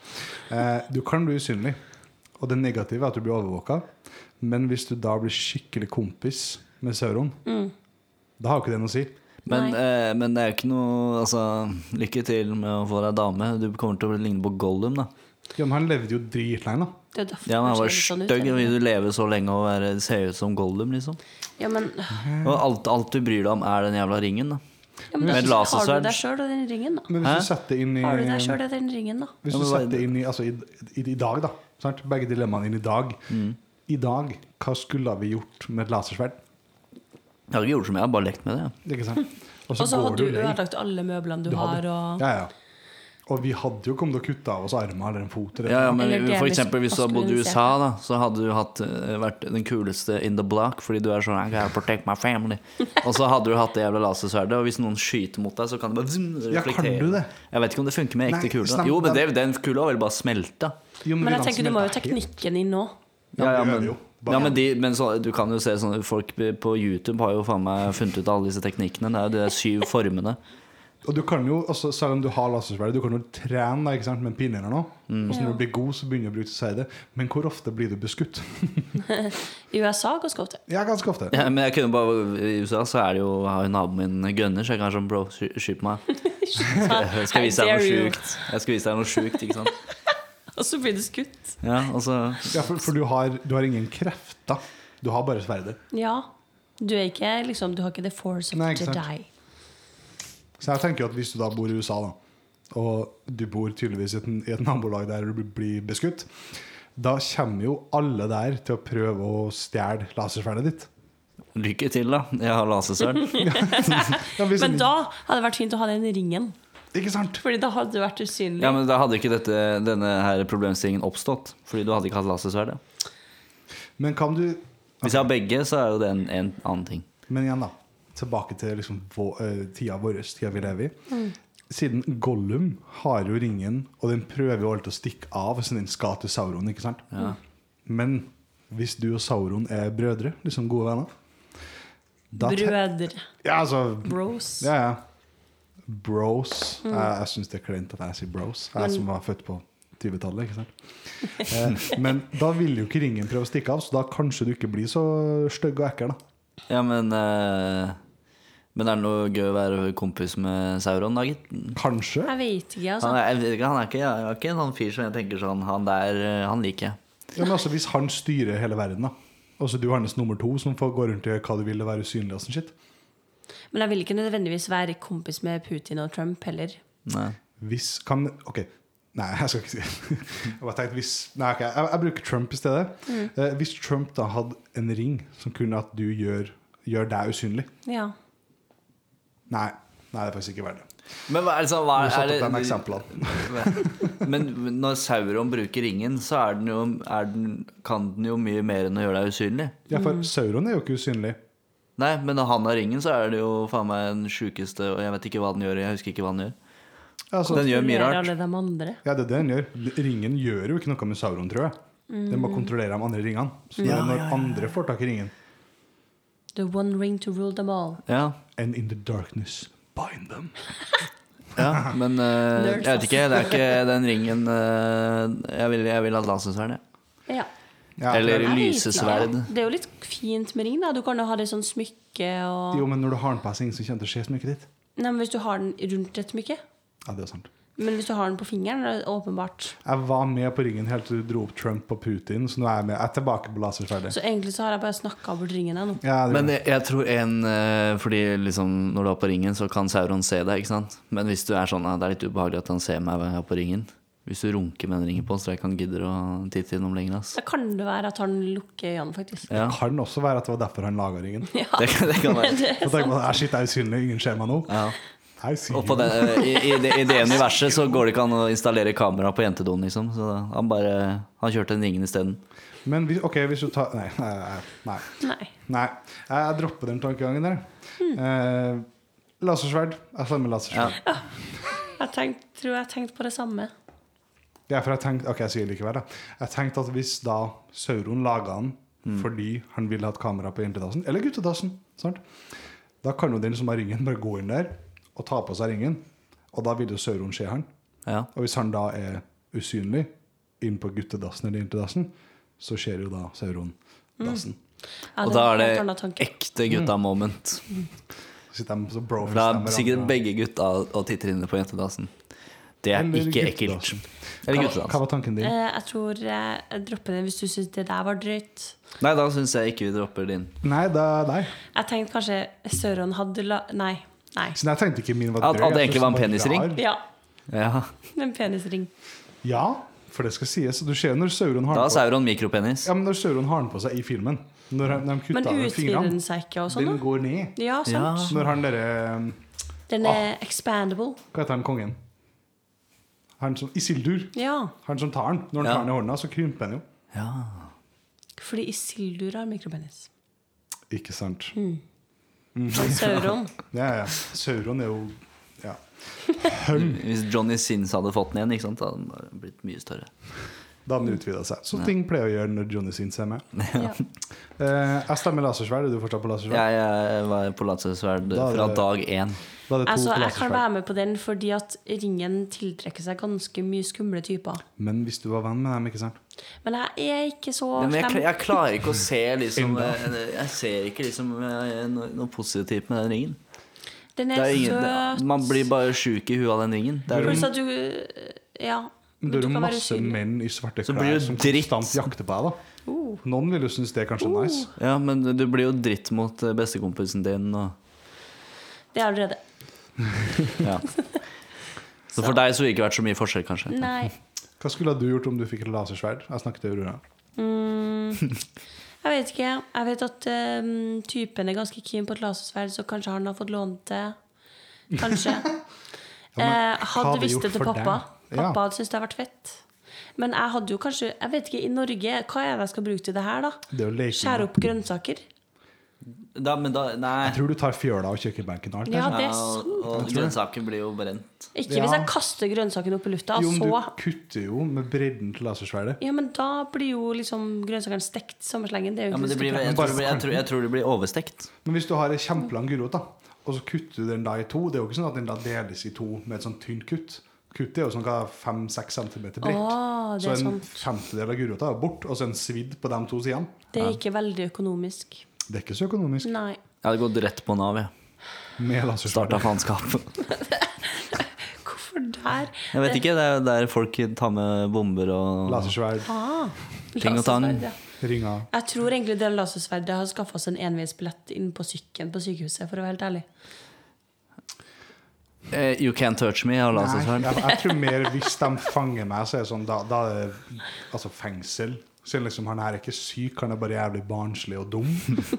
Speaker 1: Eh, du kan bli usynlig, og det negative er at du blir overvåka. Men hvis du da blir skikkelig kompis med Sauron,
Speaker 3: Mm.
Speaker 1: da har jo ikke det noe å si.
Speaker 2: Men,
Speaker 3: Nei.
Speaker 2: eh, men det er jo ikke noe Altså, lykke til med å få deg dame. Du kommer til å ligne på Gollum, da.
Speaker 1: Ja, men han levde jo dritlenge, da.
Speaker 3: Det er jo derfor
Speaker 2: Ja, men han
Speaker 3: det
Speaker 2: var
Speaker 3: ser litt sånn
Speaker 2: stygg.
Speaker 3: ut,
Speaker 2: Vil du leve så lenge og være, se ut som Gollum, liksom?
Speaker 3: Ja, men,
Speaker 2: Og alt, alt du bryr deg om, er den jævla ringen, da.
Speaker 3: ja, men
Speaker 2: Med et
Speaker 3: da har
Speaker 2: lasersverd.
Speaker 3: du deg sjøl og den ringen, da.
Speaker 1: Men hvis du setter det inn i
Speaker 3: Har du deg sjøl og den ringen, da?
Speaker 1: Hvis
Speaker 2: Ja,
Speaker 1: du
Speaker 2: men hva-
Speaker 1: setter inn i, altså, i, i, i dag, da. Sant? Begge dilemmaene inn i dag.
Speaker 2: Mm.
Speaker 1: I dag, hva skulle vi gjort med et lasersverd?
Speaker 2: Jeg har ikke gjort så mye, jeg har bare lekt med det. ja.
Speaker 1: Ikke sant?
Speaker 3: Og så
Speaker 1: går
Speaker 3: hadde du
Speaker 1: jo lei.
Speaker 3: ødelagt alle møblene du,
Speaker 1: Du hadde-
Speaker 3: har, og
Speaker 1: Ja, ja. Og vi hadde jo kommet til å kutte av oss armer eller en fot. Eller
Speaker 2: Ja, ja, men
Speaker 3: Eller
Speaker 2: for
Speaker 3: delvis
Speaker 2: eksempel hvis du hadde bodd i USA,
Speaker 3: maskulinisert.
Speaker 2: da, så hadde du hatt, eh, vært den kuleste in the block, fordi du er sånn I gotta protect my family. Og så hadde du hatt det jævla lasersverdet, og hvis noen skyter mot deg, så kan det bare zoom,
Speaker 1: Ja, kan
Speaker 2: reflektere.
Speaker 1: du det?
Speaker 2: Jeg vet ikke om det funker med
Speaker 1: Nei,
Speaker 2: ekte kule.
Speaker 1: snap-
Speaker 2: da. Jo, men det, den kula vil bare smelte.
Speaker 1: Jo,
Speaker 3: Men jeg
Speaker 1: vi
Speaker 3: tenker du må jo
Speaker 1: smelter helt.
Speaker 3: teknikken inn nå.
Speaker 1: Ja,
Speaker 2: Ja, ja,
Speaker 1: vi øver
Speaker 2: men,
Speaker 1: jo. Bare-
Speaker 2: ja, men, de, men så, du kan jo se sånne folk på YouTube har jo faen meg funnet ut alle disse teknikkene. Det er jo de der syv formene.
Speaker 1: Og du kan jo, altså, selv om du har lasersverd, du kan jo trene da, ikke sant, med en pinne eller noe.
Speaker 2: Mm.
Speaker 1: Og så når du blir god, så begynner du å bruke sverdet. Men hvor ofte blir du beskutt?
Speaker 3: I USA ganske ofte.
Speaker 1: ja, ganske ofte.
Speaker 2: Ja, men jeg kunne bare I USA så er det jo har jo naboen min gunner, så jeg kan sånn bro, sky- skyt meg. Jeg skal vise deg noe
Speaker 3: How dare you.
Speaker 2: sjukt. Jeg skal vise deg noe sjukt, ikke sant.
Speaker 3: Og så blir du skutt.
Speaker 2: Ja, og så
Speaker 1: Ja, for, for du, har, du har ingen krefter. Du har bare sverdet.
Speaker 3: Ja. Du er ikke liksom Du har ikke the force of
Speaker 1: Nei, ikke
Speaker 3: the
Speaker 1: sant.
Speaker 3: Jedi.
Speaker 1: Så jeg tenker jo at hvis du da bor i USA, da, og du bor tydeligvis i et, i et nabolag der du blir beskutt, da kommer jo alle der til å prøve å stjele lasersverdet ditt.
Speaker 2: lykke til, da. Jeg har lasersverd.
Speaker 1: Ja, hvis
Speaker 3: Men
Speaker 1: en-
Speaker 3: da hadde det vært fint å ha den ringen.
Speaker 1: Ikke sant?
Speaker 3: Fordi da hadde du vært usynlig.
Speaker 2: Ja, men da hadde ikke dette, denne her problemstillingen oppstått. Fordi du hadde ikke hatt lasersverd. ja.
Speaker 1: Men kan du
Speaker 2: Hvis jeg har begge, så er jo det en, en annen ting.
Speaker 1: Men igjen, da. Tilbake til liksom vå, eh, tida vår, tida vi lever i.
Speaker 3: Mm.
Speaker 1: Siden Gollum har jo ringen, og den prøver jo alltid å stikke av, så den skal til Sauron, ikke sant? Men hvis du og Sauron er brødre, liksom gode venner da te-
Speaker 3: Brødre.
Speaker 1: Ja, altså
Speaker 3: Bros.
Speaker 1: Ja, ja. Bros. Jeg, jeg syns det er kleint at jeg sier bros. Jeg som var født på 20-tallet. ikke sant? Eh, Men da vil jo ikke ringen prøve å stikke av, så da kanskje du ikke blir så stygg og ekkel. da.
Speaker 2: Ja, men eh, Men er det noe gøy å være kompis med Sauron, da, gitt?
Speaker 1: Kanskje.
Speaker 3: Jeg vet ikke, altså.
Speaker 2: Han er, jeg vet ikke, han er ikke, jeg er ikke en sånn fyr som jeg tenker sånn Han der, eh, han liker jeg.
Speaker 1: Ja, men altså, hvis han styrer hele verden, da. Og så du hans nummer to, som får gå rundt og gjøre hva du vil og være usynlig og sånn shit.
Speaker 3: Men jeg vil ikke nødvendigvis være kompis med Putin og Trump heller.
Speaker 2: Nei.
Speaker 1: Hvis kan Ok. Nei, jeg skal ikke si Jeg bare tenkte hvis Nei, ok, jeg, jeg bruker Trump i stedet. Eh, hvis Trump da hadde en ring som kunne at du gjør, gjør deg usynlig
Speaker 3: Ja.
Speaker 1: Nei, nei, det er faktisk ikke verdt det.
Speaker 2: Men hva er det sånn hva
Speaker 1: Du
Speaker 2: er,
Speaker 1: satte opp de
Speaker 2: det-
Speaker 1: eksemplene.
Speaker 2: Men når Sauron bruker ringen, så er den jo, er den, kan den jo mye mer enn å gjøre deg usynlig.
Speaker 1: Ja, for Sauron er jo ikke usynlig.
Speaker 2: Nei, men når han har ringen, så er det jo faen meg den sjukeste Og jeg vet ikke hva den gjør. Jeg husker ikke hva den gjør.
Speaker 1: Altså,
Speaker 2: Den gjør mye
Speaker 3: Kontrollerer
Speaker 2: rart.
Speaker 3: Alle de andre.
Speaker 1: ja, det er det den gjør. Ringen gjør jo ikke noe med Sauron, tror jeg. Den må kontrollere de andre ringene. Så det er når andre får tak i ringen
Speaker 3: The one ring to rule them all.
Speaker 2: Ja,
Speaker 1: And in the darkness bind them.
Speaker 2: ja men eh, jeg
Speaker 3: Nerds,
Speaker 2: vet ikke. Det er ikke den ringen eh, Jeg vil, jeg vil ha lasersverd, jeg.
Speaker 3: Ja.
Speaker 1: Ja,
Speaker 2: Eller-
Speaker 1: for-
Speaker 3: Jeg vet
Speaker 2: Lysesverd.
Speaker 3: ikke. Det er jo litt fint med ring, da. Du kan jo ha det sånn smykke og
Speaker 1: Jo, men når du har den på en seng, så kommer det til å skje smykket ditt.
Speaker 3: Nei, men hvis du har den rundt et smykke.
Speaker 1: Ja, det er sant.
Speaker 3: Men hvis du har den på fingeren, er det åpenbart.
Speaker 1: Jeg var med på ringen helt til du dro opp Trump og Putin, så nå er jeg med. Jeg er tilbake på lasersverdet.
Speaker 3: Så egentlig så har jeg bare snakka bort ringen jeg nå.
Speaker 1: Ja, det-
Speaker 2: Men jeg, jeg tror en eh, Fordi liksom når du er på ringen, så kan Sauron se deg, ikke sant? Men hvis du er sånn at det er litt ubehagelig at han ser meg her på ringen Hvis du runker med den ringen på, så tror jeg ikke han gidder å titte innom lenger, ass.
Speaker 3: Da kan det være at han lukker øynene, faktisk.
Speaker 2: Ja.
Speaker 1: Det kan også være at det var derfor han laga ringen.
Speaker 3: Ja.
Speaker 2: Det, kan- det kan være.
Speaker 1: Så tenker man, «Æ, shit, jeg er usynlig, ingen ser meg nå.
Speaker 2: Ja.
Speaker 1: Jeg er usynlig.
Speaker 2: Og på det, i, i, det, I det ene universet så går det ikke an å installere kamera på jentedoen, liksom. Så da- han bare Han kjørte den ringen isteden.
Speaker 1: Men hvis, ok, hvis du tar Nei. nei, nei, nei.
Speaker 3: Nei.
Speaker 1: nei. Jeg, jeg dropper den tankegangen der.
Speaker 2: Hmm.
Speaker 1: Eh, lasersverd. Jeg står med lasersverd.
Speaker 3: Jeg tenkt, tror jeg tenkte på det samme.
Speaker 1: Ja, for jeg tenkte, ok, jeg sier det likevel da. Jeg tenkte at hvis da Sauron laget han
Speaker 2: Hmm.
Speaker 1: fordi han ville ha et kamera på jentedassen, eller guttedassen, sant? da kan jo den som har ringen bare gå inn der og ta på seg ringen, og da vil jo Sauron se han.
Speaker 2: Ja.
Speaker 1: Og hvis han da er usynlig inn på guttedassen eller jentedassen, så skjer jo da Sauron
Speaker 2: Hmm.
Speaker 1: dassen.
Speaker 3: Ja,
Speaker 2: Og
Speaker 3: det
Speaker 2: da
Speaker 3: var
Speaker 2: er
Speaker 3: en helt annen
Speaker 2: det
Speaker 3: tanke.
Speaker 2: ekte gutta
Speaker 1: Mm.
Speaker 2: moment.
Speaker 1: Så sitter de så
Speaker 2: For
Speaker 1: brofist
Speaker 2: da
Speaker 1: dem
Speaker 2: er sikkert
Speaker 1: hverandre.
Speaker 2: begge gutta og titter inne på jentedassen. Det er
Speaker 1: Eller
Speaker 2: ikke ekkelt.
Speaker 1: guttedassen.
Speaker 2: Eller
Speaker 1: Hva, hva
Speaker 2: guttedassen.
Speaker 1: var tanken din?
Speaker 3: Eh, jeg tror jeg jeg dropper den hvis du syns det der var drøyt.
Speaker 2: altså. Nei, da syns jeg ikke vi dropper din.
Speaker 1: Nei, da, nei.
Speaker 3: Jeg tenkte kanskje Søron hadde la... Nei. Nei.
Speaker 1: Så jeg tenkte ikke min var
Speaker 2: At-
Speaker 1: drøy.
Speaker 2: at det
Speaker 1: jeg
Speaker 2: egentlig
Speaker 1: synes
Speaker 2: var en
Speaker 1: den
Speaker 2: penisring?
Speaker 1: rar.
Speaker 3: Ja.
Speaker 2: Ja.
Speaker 3: En penisring.
Speaker 1: Ja, for det skal sies. Du ser jo når Sauron har
Speaker 2: Da
Speaker 1: den på
Speaker 2: er Sauron mikropenis.
Speaker 1: Ja, men når Sauron har den på seg i filmen Når han- når de
Speaker 3: Men
Speaker 1: kutter av
Speaker 3: utvider den
Speaker 1: fingrene
Speaker 3: seg ikke og sånn,
Speaker 1: Den
Speaker 3: da?
Speaker 1: går ned
Speaker 3: Ja,
Speaker 2: Ja. Ah.
Speaker 3: sant.
Speaker 1: Når han derre
Speaker 3: Den er expandable.
Speaker 1: Hva heter han kongen? Han som, Isildur.
Speaker 3: Ja.
Speaker 1: Han som tar den. Når han
Speaker 2: Ja.
Speaker 1: tar den i hånda, så krymper den jo.
Speaker 2: Ja.
Speaker 3: Fordi Isildur har mikropenis.
Speaker 1: Ikke sant.
Speaker 3: Mm. Men Søron
Speaker 1: Ja, ja. Sauron er jo Ja.
Speaker 2: Hvis Johnny Sins hadde fått den igjen, ikke sant? da hadde den bare blitt mye større.
Speaker 1: Da hadde den utvida seg. Som ting pleier å gjøre når Johnny Sins er med.
Speaker 3: ja.
Speaker 1: Eh, jeg stemmer lasersverd. Er du fortsatt på lasersverd?
Speaker 2: Jeg, jeg var på latsesverd
Speaker 1: Da er
Speaker 2: fra
Speaker 1: det-
Speaker 2: dag én.
Speaker 1: Da er det to
Speaker 3: Altså,
Speaker 1: på
Speaker 3: jeg kan
Speaker 1: lasersverd.
Speaker 3: være med på den fordi at ringen tiltrekker seg ganske mye skumle typer.
Speaker 1: Men hvis du var venn med dem, ikke sant?
Speaker 3: Men jeg er ikke så
Speaker 2: Ja, men jeg, kla-
Speaker 3: slem.
Speaker 2: jeg klarer ikke å se liksom eh, Jeg ser ikke liksom eh, noe, noe positivt med den ringen.
Speaker 3: Den
Speaker 2: Det
Speaker 3: er
Speaker 2: er
Speaker 3: søt.
Speaker 2: ingen, man blir bare sjuk i huet av den ringen. Det er, liksom-
Speaker 3: Pluss at du eh, Ja.
Speaker 1: Men
Speaker 3: men
Speaker 1: det er
Speaker 3: du
Speaker 1: jo
Speaker 3: kan være
Speaker 1: masse
Speaker 3: usynlig.
Speaker 1: menn i svarte
Speaker 2: Så blir
Speaker 1: klær
Speaker 2: det
Speaker 1: som
Speaker 2: dritt.
Speaker 1: konstant jakter på deg, da.
Speaker 3: Oh.
Speaker 1: Noen vil jo synes det er kanskje nice.
Speaker 2: ja, men du blir jo dritt mot eh, bestekompisen din. Og,
Speaker 3: Det er allerede.
Speaker 2: ja. Så for deg så ville det ikke vært så mye forskjell, kanskje.
Speaker 3: Nei.
Speaker 1: Hva skulle du gjort om du fikk et lasersverd? Jeg snakket til Aurora.
Speaker 3: Mm. Jeg vet ikke. Jeg vet at ehm, typen er ganske keen på et lasersverd, så kanskje han har fått lånt det. Kanskje.
Speaker 1: men
Speaker 3: eh,
Speaker 1: hva
Speaker 3: hadde
Speaker 1: hadde
Speaker 3: visst
Speaker 1: gjort
Speaker 3: det til
Speaker 1: for
Speaker 3: pappa.
Speaker 1: dem? Ja.
Speaker 3: Pappa hadde syntes det hadde vært fett. Men jeg hadde jo kanskje Jeg vet ikke, i Norge, hva er det jeg skal bruke til det her, da?
Speaker 1: Det er jo leking.
Speaker 3: Skjære opp grønnsaker?
Speaker 2: Da, men da, nei.
Speaker 1: Jeg tror du tar fjøla og kjøkkenbenken og alt.
Speaker 3: Ja,
Speaker 1: kanskje?
Speaker 3: det er
Speaker 2: og,
Speaker 3: sant.
Speaker 2: og grønnsaken blir jo brent.
Speaker 3: Ikke
Speaker 1: Ja.
Speaker 3: hvis jeg kaster grønnsaken opp i lufta,
Speaker 1: jo, men
Speaker 3: så
Speaker 1: du kutter jo med bredden til lasersverdet.
Speaker 3: Ja, men da blir jo liksom grønnsakene stekt samme slengen. Det er jo
Speaker 2: Ja,
Speaker 3: ikke
Speaker 2: men det
Speaker 3: så
Speaker 2: blir,
Speaker 3: bra.
Speaker 2: jeg, tror, det blir- jeg, tror, jeg tror det blir overstekt.
Speaker 1: Men hvis du har en kjempelang gulrot, da, og så kutter du den da i to Det er jo ikke sånn at den da deles i to med et sånt tynt kutt. Kuttet er jo sånn hva, 5-6 cm bredt.
Speaker 3: Å, det
Speaker 1: så
Speaker 3: er
Speaker 1: en
Speaker 3: sant.
Speaker 1: femtedel av gulrota er jo bort, og så en svidd på de to sidene.
Speaker 3: Det er ikke veldig økonomisk.
Speaker 1: Det er ikke så økonomisk.
Speaker 3: Nei.
Speaker 2: Jeg hadde gått rett på Nav, jeg.
Speaker 1: Med laserskjær.
Speaker 2: Starta faenskap.
Speaker 3: Hvorfor der?
Speaker 2: Jeg vet ikke, det er jo der folk tar med bomber og
Speaker 1: Lasersverd,
Speaker 3: Ah,
Speaker 2: Ting og tang.
Speaker 3: lasersverd, ja.
Speaker 1: ringer
Speaker 3: Jeg tror egentlig det lasersverdet har skaffa oss en enveisbillett inn på sykkelen på sykehuset, for å være helt ærlig.
Speaker 2: Eh, You can't touch me og
Speaker 1: Nei,
Speaker 2: lasersverd.
Speaker 1: jeg, jeg tror mer hvis de fanger meg, så er det sånn Da, da er det altså fengsel. Siden liksom han her er ikke syk, han er bare jævlig barnslig og dum.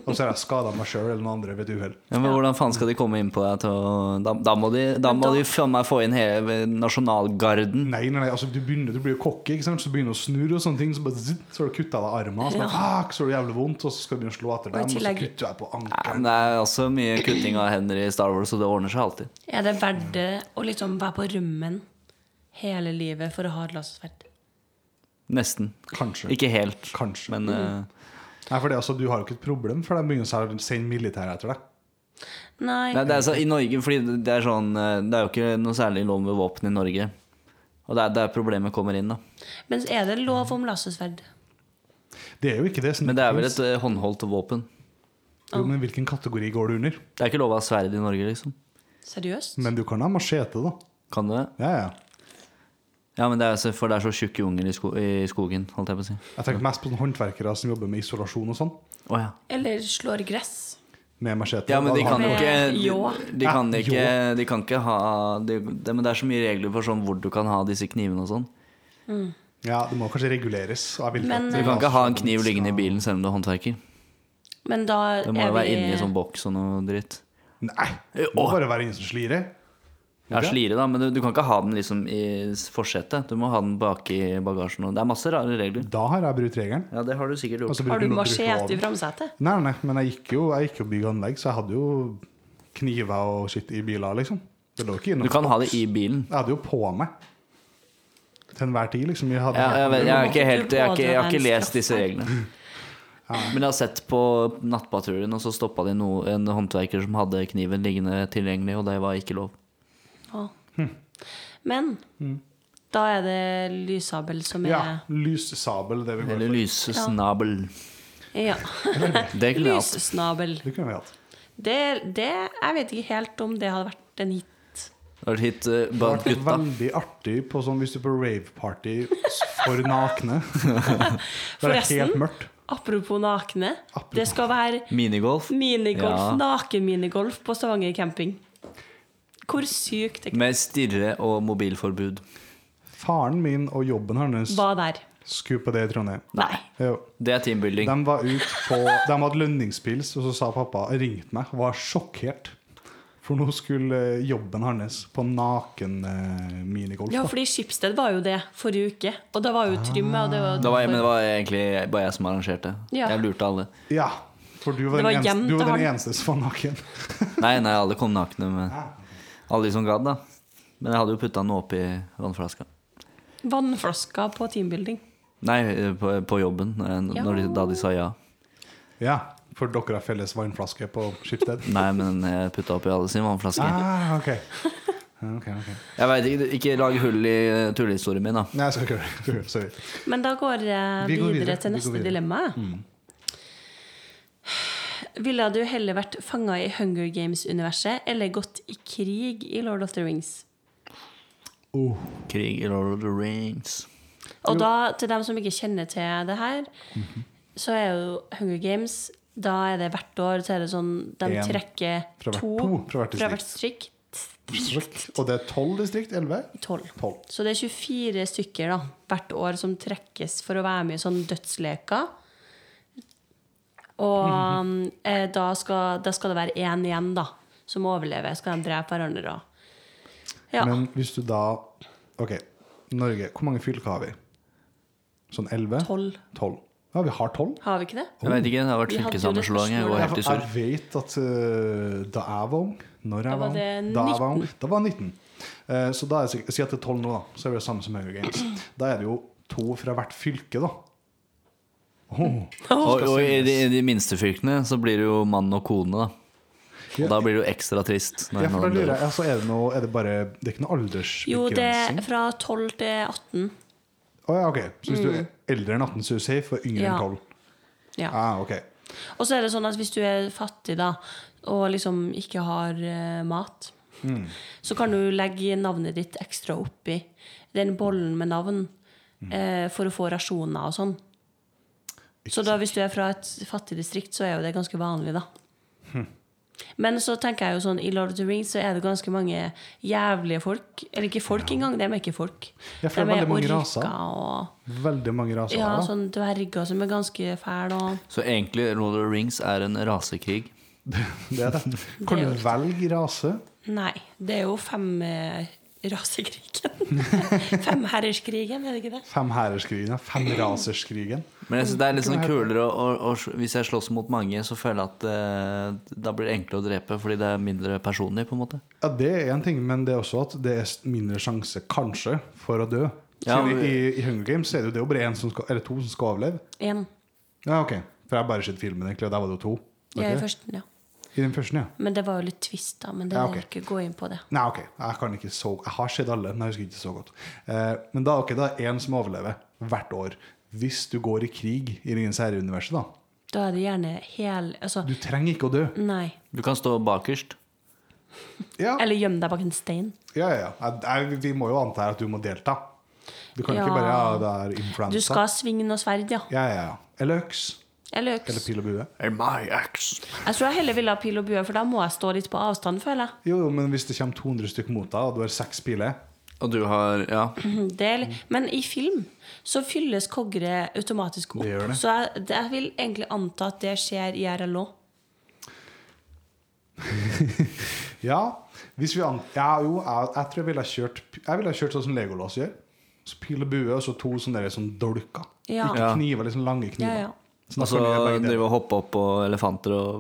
Speaker 1: Og så har jeg skada meg sjøl eller noen andre ved et uhell.
Speaker 2: Ja, men hvordan faen skal de komme inn på deg til å Da, da må de, da må
Speaker 3: da-
Speaker 2: de faen meg få inn hele nasjonalgarden.
Speaker 1: Nei, nei, nei, altså du begynner, du blir jo cocky, ikke sant? så begynner du å snurre og sånne ting, så bare zitt, så har du kutta deg armen, og så bare, fuck, så har du jævlig vondt, og så skal du begynne å slå etter
Speaker 3: Og i
Speaker 1: dem, og så
Speaker 3: tillegg-
Speaker 1: kutter du deg på
Speaker 2: Nei,
Speaker 1: ankelen.
Speaker 2: men Det er også mye kutting av hender i Star Wars, så det ordner seg alltid.
Speaker 3: Er det verdt det å liksom være på rømmen hele livet for å ha et lasersverd?
Speaker 2: Nesten.
Speaker 1: Kanskje.
Speaker 2: Ikke helt,
Speaker 1: Kanskje.
Speaker 2: men eh,
Speaker 1: Nei, for det, altså, du har jo ikke et problem, for de begynner å se- sende militæret etter deg.
Speaker 3: Nei.
Speaker 2: Nei, det er så, I Norge, fordi det er sånn eh, Det er jo ikke noe særlig lov med våpen i Norge. Og det er der problemet kommer inn, da.
Speaker 3: Men er det lov om lasersverd?
Speaker 1: Det er jo ikke det. som
Speaker 2: Men det er vel et eh, håndholdt våpen.
Speaker 1: Jo, men hvilken kategori går du under?
Speaker 2: Det er ikke lov å ha sverd i Norge, liksom.
Speaker 3: Seriøst?
Speaker 1: Men du kan ha machete, da.
Speaker 2: Kan du det?
Speaker 1: Ja, ja.
Speaker 2: Ja, men det er så- for det er så tjukke unger i, sko i skogen, holdt jeg på å si.
Speaker 1: Jeg tenker mest på sånne håndverkere som jobber med isolasjon og sånn,
Speaker 2: Å ja.
Speaker 3: Eller slår gress?
Speaker 1: med machete.
Speaker 2: Ja, men de kan jo
Speaker 3: Med
Speaker 2: ikke
Speaker 3: ljå.
Speaker 2: De, de, kan,
Speaker 1: Ja,
Speaker 2: ikke, de kan ikke ha de, det- Men det er så mye regler for sånn hvor du kan ha disse knivene og sånn.
Speaker 1: Ja, det må kanskje reguleres. av hvilke-
Speaker 3: Men,
Speaker 2: Du kan ikke ha en kniv liggende i bilen selv om du er håndverker.
Speaker 3: Men da
Speaker 2: Det må
Speaker 3: er
Speaker 2: jo være inni
Speaker 3: vi
Speaker 2: sånn boks og noe dritt.
Speaker 1: Nei, det må bare være ingen som slirer.
Speaker 2: Ja,
Speaker 1: Ok.
Speaker 2: slire, da, men du, du kan ikke ha den liksom i forsetet. Du må ha den bak i bagasjen. Og det er masse rare regler.
Speaker 1: Da har jeg brutt regelen.
Speaker 2: Ja, det har du sikkert gjort.
Speaker 1: Altså,
Speaker 3: Har du
Speaker 1: bruken-
Speaker 3: machete i
Speaker 1: bruken-
Speaker 3: framsetet?
Speaker 1: Nei, nei, men jeg gikk jo, jeg gikk jo bygg og anlegg, så jeg hadde jo kniver og shit i biler, liksom. Det lå ikke inne.
Speaker 2: Du kan ha det i bilen.
Speaker 1: Jeg hadde jo på meg. Til enhver tid, liksom. Jeg hadde,
Speaker 2: Ja, jeg, vet, jeg, er ikke
Speaker 3: Du
Speaker 2: helt, jeg, er ikke, jeg har ikke
Speaker 3: både har en
Speaker 2: lest disse
Speaker 3: straff.
Speaker 2: reglene. Men jeg har sett på Nattpatruljen, og så stoppa de no, en håndverker som hadde kniven liggende tilgjengelig, og det var ikke lov.
Speaker 3: Ja.
Speaker 1: Hm.
Speaker 3: Men da er det lyssabel som er
Speaker 1: ja, lyssabel, det vi går
Speaker 2: Eller
Speaker 1: for.
Speaker 2: lysesnabel.
Speaker 3: Ja.
Speaker 2: Det kunne jeg hatt.
Speaker 3: Lyssnabel.
Speaker 1: Det kunne vi hatt.
Speaker 3: Det, det Jeg vet ikke helt om det hadde vært en hit.
Speaker 2: Det hadde hit eh,
Speaker 1: Det
Speaker 2: blant
Speaker 1: hadde vært
Speaker 2: gutta.
Speaker 1: veldig artig på sånn, hvis du er på rave-party for nakne. Det er helt
Speaker 3: Forresten.
Speaker 1: mørkt.
Speaker 3: Apropos nakne.
Speaker 1: Apropos.
Speaker 3: Det skal være
Speaker 2: Minigolf
Speaker 3: minigolf,
Speaker 2: Ja.
Speaker 3: nakenminigolf på Stavanger camping. Hvor sykt det
Speaker 2: med stirre- og mobilforbud.
Speaker 1: Faren min og jobben hans
Speaker 3: var der.
Speaker 1: skulle på det i Trondheim.
Speaker 3: Nei.
Speaker 1: Jo.
Speaker 2: Det er teambuilding.
Speaker 1: De var ut på De hadde lønningspils, og så sa pappa Ringte meg, var sjokkert For nå skulle eh, jobben hans På naken eh, minigolf
Speaker 3: Ja,
Speaker 1: da.
Speaker 3: fordi Schibsted var jo det forrige uke. Og da var jo Trymme, og det var,
Speaker 2: Det Ah. var, men det var egentlig bare jeg som arrangerte.
Speaker 3: Ja.
Speaker 2: Jeg lurte alle.
Speaker 1: ja, for du var,
Speaker 3: Det var
Speaker 1: den, eneste,
Speaker 3: gjemt
Speaker 1: du var
Speaker 3: til
Speaker 1: den
Speaker 3: han.
Speaker 1: eneste som var naken
Speaker 2: Nei, nei, alle kom nakne. Men alle de som gadd, da. Men jeg hadde jo putta noe oppi vannflaska.
Speaker 3: vannflaska på teambuilding.
Speaker 2: Nei, eh, på, på jobben, eh, n-
Speaker 3: Ja.
Speaker 2: når de, da de sa ja.
Speaker 1: Ja, for dere har felles vannflaske på Skipsted
Speaker 2: Nei, men eh, jeg putta oppi alle sine vannflasker.
Speaker 1: Ah, ok Ja, Ok, ok
Speaker 2: Jeg vet ikke, ikke lag hull i eh, tullehistorien min, da.
Speaker 1: Nei, jeg skal ikke gjøre det Sorry
Speaker 3: Men da går jeg
Speaker 1: Vi går
Speaker 3: videre,
Speaker 1: videre, vi går
Speaker 3: til neste
Speaker 1: videre. Mm.
Speaker 3: dilemma. Ville du heller vært fanga i Hunger Games-universet eller gått i krig i Lord of the Rings?
Speaker 1: oh.
Speaker 2: Krig i Lord of the Rings.
Speaker 3: Og da, til dem som ikke kjenner til det her,
Speaker 1: Mhm.
Speaker 3: så er jo Hunger Games Da er det hvert år så er det sånn De
Speaker 1: En
Speaker 3: trekker
Speaker 1: fra hvert-
Speaker 3: to
Speaker 1: to fra hvert
Speaker 3: fra hvert strikk.
Speaker 1: Og det er 12 distrikt, 11
Speaker 3: Tolv.
Speaker 1: 12
Speaker 3: Så det er 24 stykker da hvert år som trekkes for å være med i sånne dødsleker. Og eh, da, skal, da skal det være én igjen, da, som overlever. Skal de drepe hverandre og Ja.
Speaker 1: Men hvis du da Ok, Norge, hvor mange fylker har vi? Sånn 11?
Speaker 3: Tolv.
Speaker 1: 12 Ja, vi har 12
Speaker 3: Har vi ikke det?
Speaker 2: Jeg vet ikke, det har vært
Speaker 3: Vi hadde jo det
Speaker 2: fylkessammenslåing. Jeg går
Speaker 1: Jeg,
Speaker 2: helt i surr.
Speaker 1: jeg vet at eh, da jeg var ung Når
Speaker 3: Da
Speaker 1: jeg
Speaker 3: var
Speaker 1: var ung
Speaker 3: det
Speaker 1: Da jeg var
Speaker 3: 19.
Speaker 1: ung Da var jeg 19. Eh, så da er jeg sikker- Si at det er 12 nå, da. Så er det det samme som Hunger Games. Da er det jo to fra hvert fylke, da. Åh.
Speaker 2: Og, og i de, i de minste fylkene så blir det jo mann og kone, da. Og da blir det jo ekstra trist. Når
Speaker 1: Ja, for da
Speaker 2: noen
Speaker 1: lurer
Speaker 2: dør.
Speaker 1: jeg, altså er det, noe, er det bare Det er ikke noe aldersbegrensning?
Speaker 3: Jo, det er fra 12 til 18.
Speaker 1: Å ja, ok. Så hvis du er eldre enn 18, så er du safe, og yngre
Speaker 3: Mm. Ja.
Speaker 1: enn 12?
Speaker 3: Ja.
Speaker 1: Ah, ok.
Speaker 3: Og så er det sånn at hvis du er fattig da, og liksom ikke har eh, mat,
Speaker 1: Mm.
Speaker 3: så kan du legge navnet ditt ekstra oppi den bollen med navn
Speaker 1: Mm.
Speaker 3: eh, for å få rasjoner og sånn. Så da hvis du er fra et fattig distrikt, så er jo det ganske vanlig, da.
Speaker 1: Hm.
Speaker 3: Men så tenker jeg jo sånn, i Lord of the Rings så er det ganske mange jævlige folk. Eller ikke folk engang, de er ikke folk.
Speaker 1: Ja, for det er
Speaker 3: De
Speaker 1: veldig mange
Speaker 3: orker
Speaker 1: raser. Altså,
Speaker 3: Og,
Speaker 1: Veldig mange raser.
Speaker 3: ja,
Speaker 1: her, da.
Speaker 3: sånn dverger som er ganske fæle og
Speaker 2: Så egentlig Lord of the Rings er en rasekrig.
Speaker 1: Det er det.
Speaker 3: Det
Speaker 1: Kan
Speaker 3: er jo
Speaker 1: du velge rase?
Speaker 3: Nei, det er jo fem eh, rasekrigen. Femherrerskrigen, er det ikke det?
Speaker 1: Femhærerskrigen? ja. Femraserskrigen?
Speaker 2: Men jeg synes det er litt sånn kulere å, å, å Hvis jeg slåss mot mange, så føler jeg at eh, da blir det enklere å drepe fordi det er mindre personlig, på en måte.
Speaker 1: Ja, det er én ting, men det er også at det er mindre sjanse, kanskje, for å dø.
Speaker 2: Ja,
Speaker 1: Siden
Speaker 2: men-
Speaker 1: i, I Hunger Games er det jo det er jo bare en som skal, eller to som skal overleve.
Speaker 3: Én.
Speaker 1: Ja, ok. For jeg har bare sett filmen, egentlig, og der var det jo to. Var det ikke
Speaker 3: Jeg er
Speaker 1: det?
Speaker 3: først, ja.
Speaker 1: I den første, ja.
Speaker 3: Men det var jo litt twist, da. Men det
Speaker 1: Ja,
Speaker 3: vil jeg
Speaker 1: ok.
Speaker 3: ikke gå inn på det.
Speaker 1: Nei, ok. Jeg, kan ikke så, jeg har sett alle, men jeg husker ikke så godt. Eh, men da, ok, da er det én som overlever hvert år. Hvis du går i krig i Ringens herre-universet, da.
Speaker 3: Da er det gjerne hel Altså,
Speaker 1: Du Ah. trenger ikke å dø.
Speaker 3: nei.
Speaker 2: Du kan stå bakerst.
Speaker 1: Ja, ja,
Speaker 3: Eller gjemme deg bak en stein.
Speaker 1: ja. ja. Jeg, jeg, vi må jo anta her at du må delta. Du kan ikke
Speaker 3: Ja.
Speaker 1: bare ja, det er
Speaker 3: Du
Speaker 1: influensa.
Speaker 3: skal svinge noe sverd, ja.
Speaker 1: Ja, ja, ja. Eller øks.
Speaker 3: Eller
Speaker 1: Eller
Speaker 3: øks.
Speaker 1: pil og bue.
Speaker 2: And my axe.
Speaker 3: Jeg tror jeg heller ville ha pil og bue, for da må jeg stå litt på avstand, føler jeg.
Speaker 1: Jo, jo, men hvis det kommer 200 stykk mot deg, og du har seks piler
Speaker 2: Og du har Ja.
Speaker 3: Mm, Det er, litt- men i film så fylles kogre automatisk opp.
Speaker 1: Det gjør det.
Speaker 3: Så jeg, det- jeg vil egentlig anta at det skjer i RL òg.
Speaker 1: Ja, hvis vi an... Ja, jo, jeg, jeg tror jeg ville ha kjørt Jeg ville ha kjørt sånn som Legolas gjør. Så pil og bue, og så to sånne der som dolker. Ikke
Speaker 3: Ja.
Speaker 2: Ja. Altså,
Speaker 1: kniver, liksom lange kniver.
Speaker 3: Ja, ja.
Speaker 1: Sånn
Speaker 2: Og
Speaker 1: at
Speaker 2: så
Speaker 1: kan jeg begge deler.
Speaker 2: drive og hoppe opp på elefanter og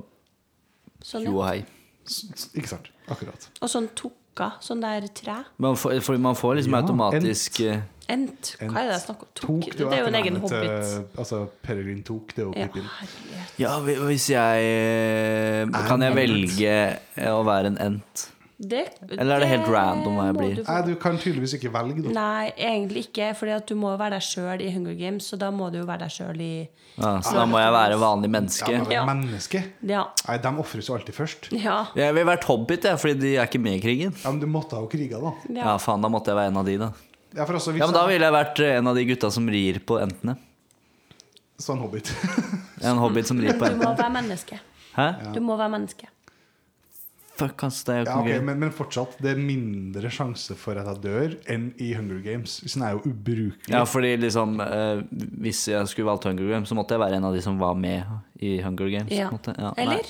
Speaker 3: Sånn,
Speaker 2: tjo
Speaker 3: ja.
Speaker 2: og hei.
Speaker 1: S- s- Ikke sant. Akkurat.
Speaker 3: Og sånn tukka. Sånn der tre.
Speaker 2: Man får, for man får liksom
Speaker 1: Ja,
Speaker 2: automatisk eh,
Speaker 3: Ent. Hva er det jeg snakker om? Tok?
Speaker 1: Tok,
Speaker 3: Det er jo en egen
Speaker 1: etternavnet til-
Speaker 3: hobbit.
Speaker 1: Altså Peregrin Tok, det er jo
Speaker 3: Ja,
Speaker 1: Pippin.
Speaker 3: herlighet.
Speaker 2: Ja, hvi- hvis jeg eh, Kan jeg
Speaker 1: en ent?
Speaker 2: velge eh, å være en ent?
Speaker 3: Det,
Speaker 2: Eller er det helt random hva jeg
Speaker 3: må
Speaker 2: blir?
Speaker 3: du få-
Speaker 1: Nei, du kan tydeligvis ikke velge, da.
Speaker 3: Nei, egentlig ikke. Fordi at du må jo være deg sjøl i Hunger Games, så da må du jo være deg sjøl i
Speaker 2: Ja, så da må jeg være vanlig menneske.
Speaker 1: Ja, men
Speaker 3: Ja.
Speaker 1: Menneske?
Speaker 3: Ja.
Speaker 1: Nei, de ofres jo alltid først.
Speaker 3: Ja.
Speaker 2: Jeg ville vært hobbit, jeg, fordi de er ikke med i krigen.
Speaker 1: Ja, Men du måtte ha jo kriga, da.
Speaker 2: Ja,
Speaker 3: ja.
Speaker 2: faen, da måtte jeg være en av de, da.
Speaker 1: Ja, for altså, hvis
Speaker 2: Ja, men da
Speaker 1: jeg-
Speaker 2: ville jeg vært eh, en av de gutta som rir på entene.
Speaker 1: Sånn hobbit.
Speaker 2: En hobbit som rir på
Speaker 3: Du må
Speaker 2: entene.
Speaker 3: være menneske.
Speaker 2: Hæ?
Speaker 3: Du må være menneske.
Speaker 2: Fuck, ass, det er
Speaker 1: Ja,
Speaker 2: jo ikke
Speaker 1: ok,
Speaker 2: noe gøy.
Speaker 1: men, men fortsatt, det er mindre sjanse for at jeg dør enn i Hunger Games. Hvis den er jo ubrukelig.
Speaker 2: Ja, fordi liksom eh, Hvis jeg skulle valgt Hunger Games, så måtte jeg være en av de som var med i Hunger Games.
Speaker 3: Ja.
Speaker 2: på en måte. Ja, nei.
Speaker 3: Eller?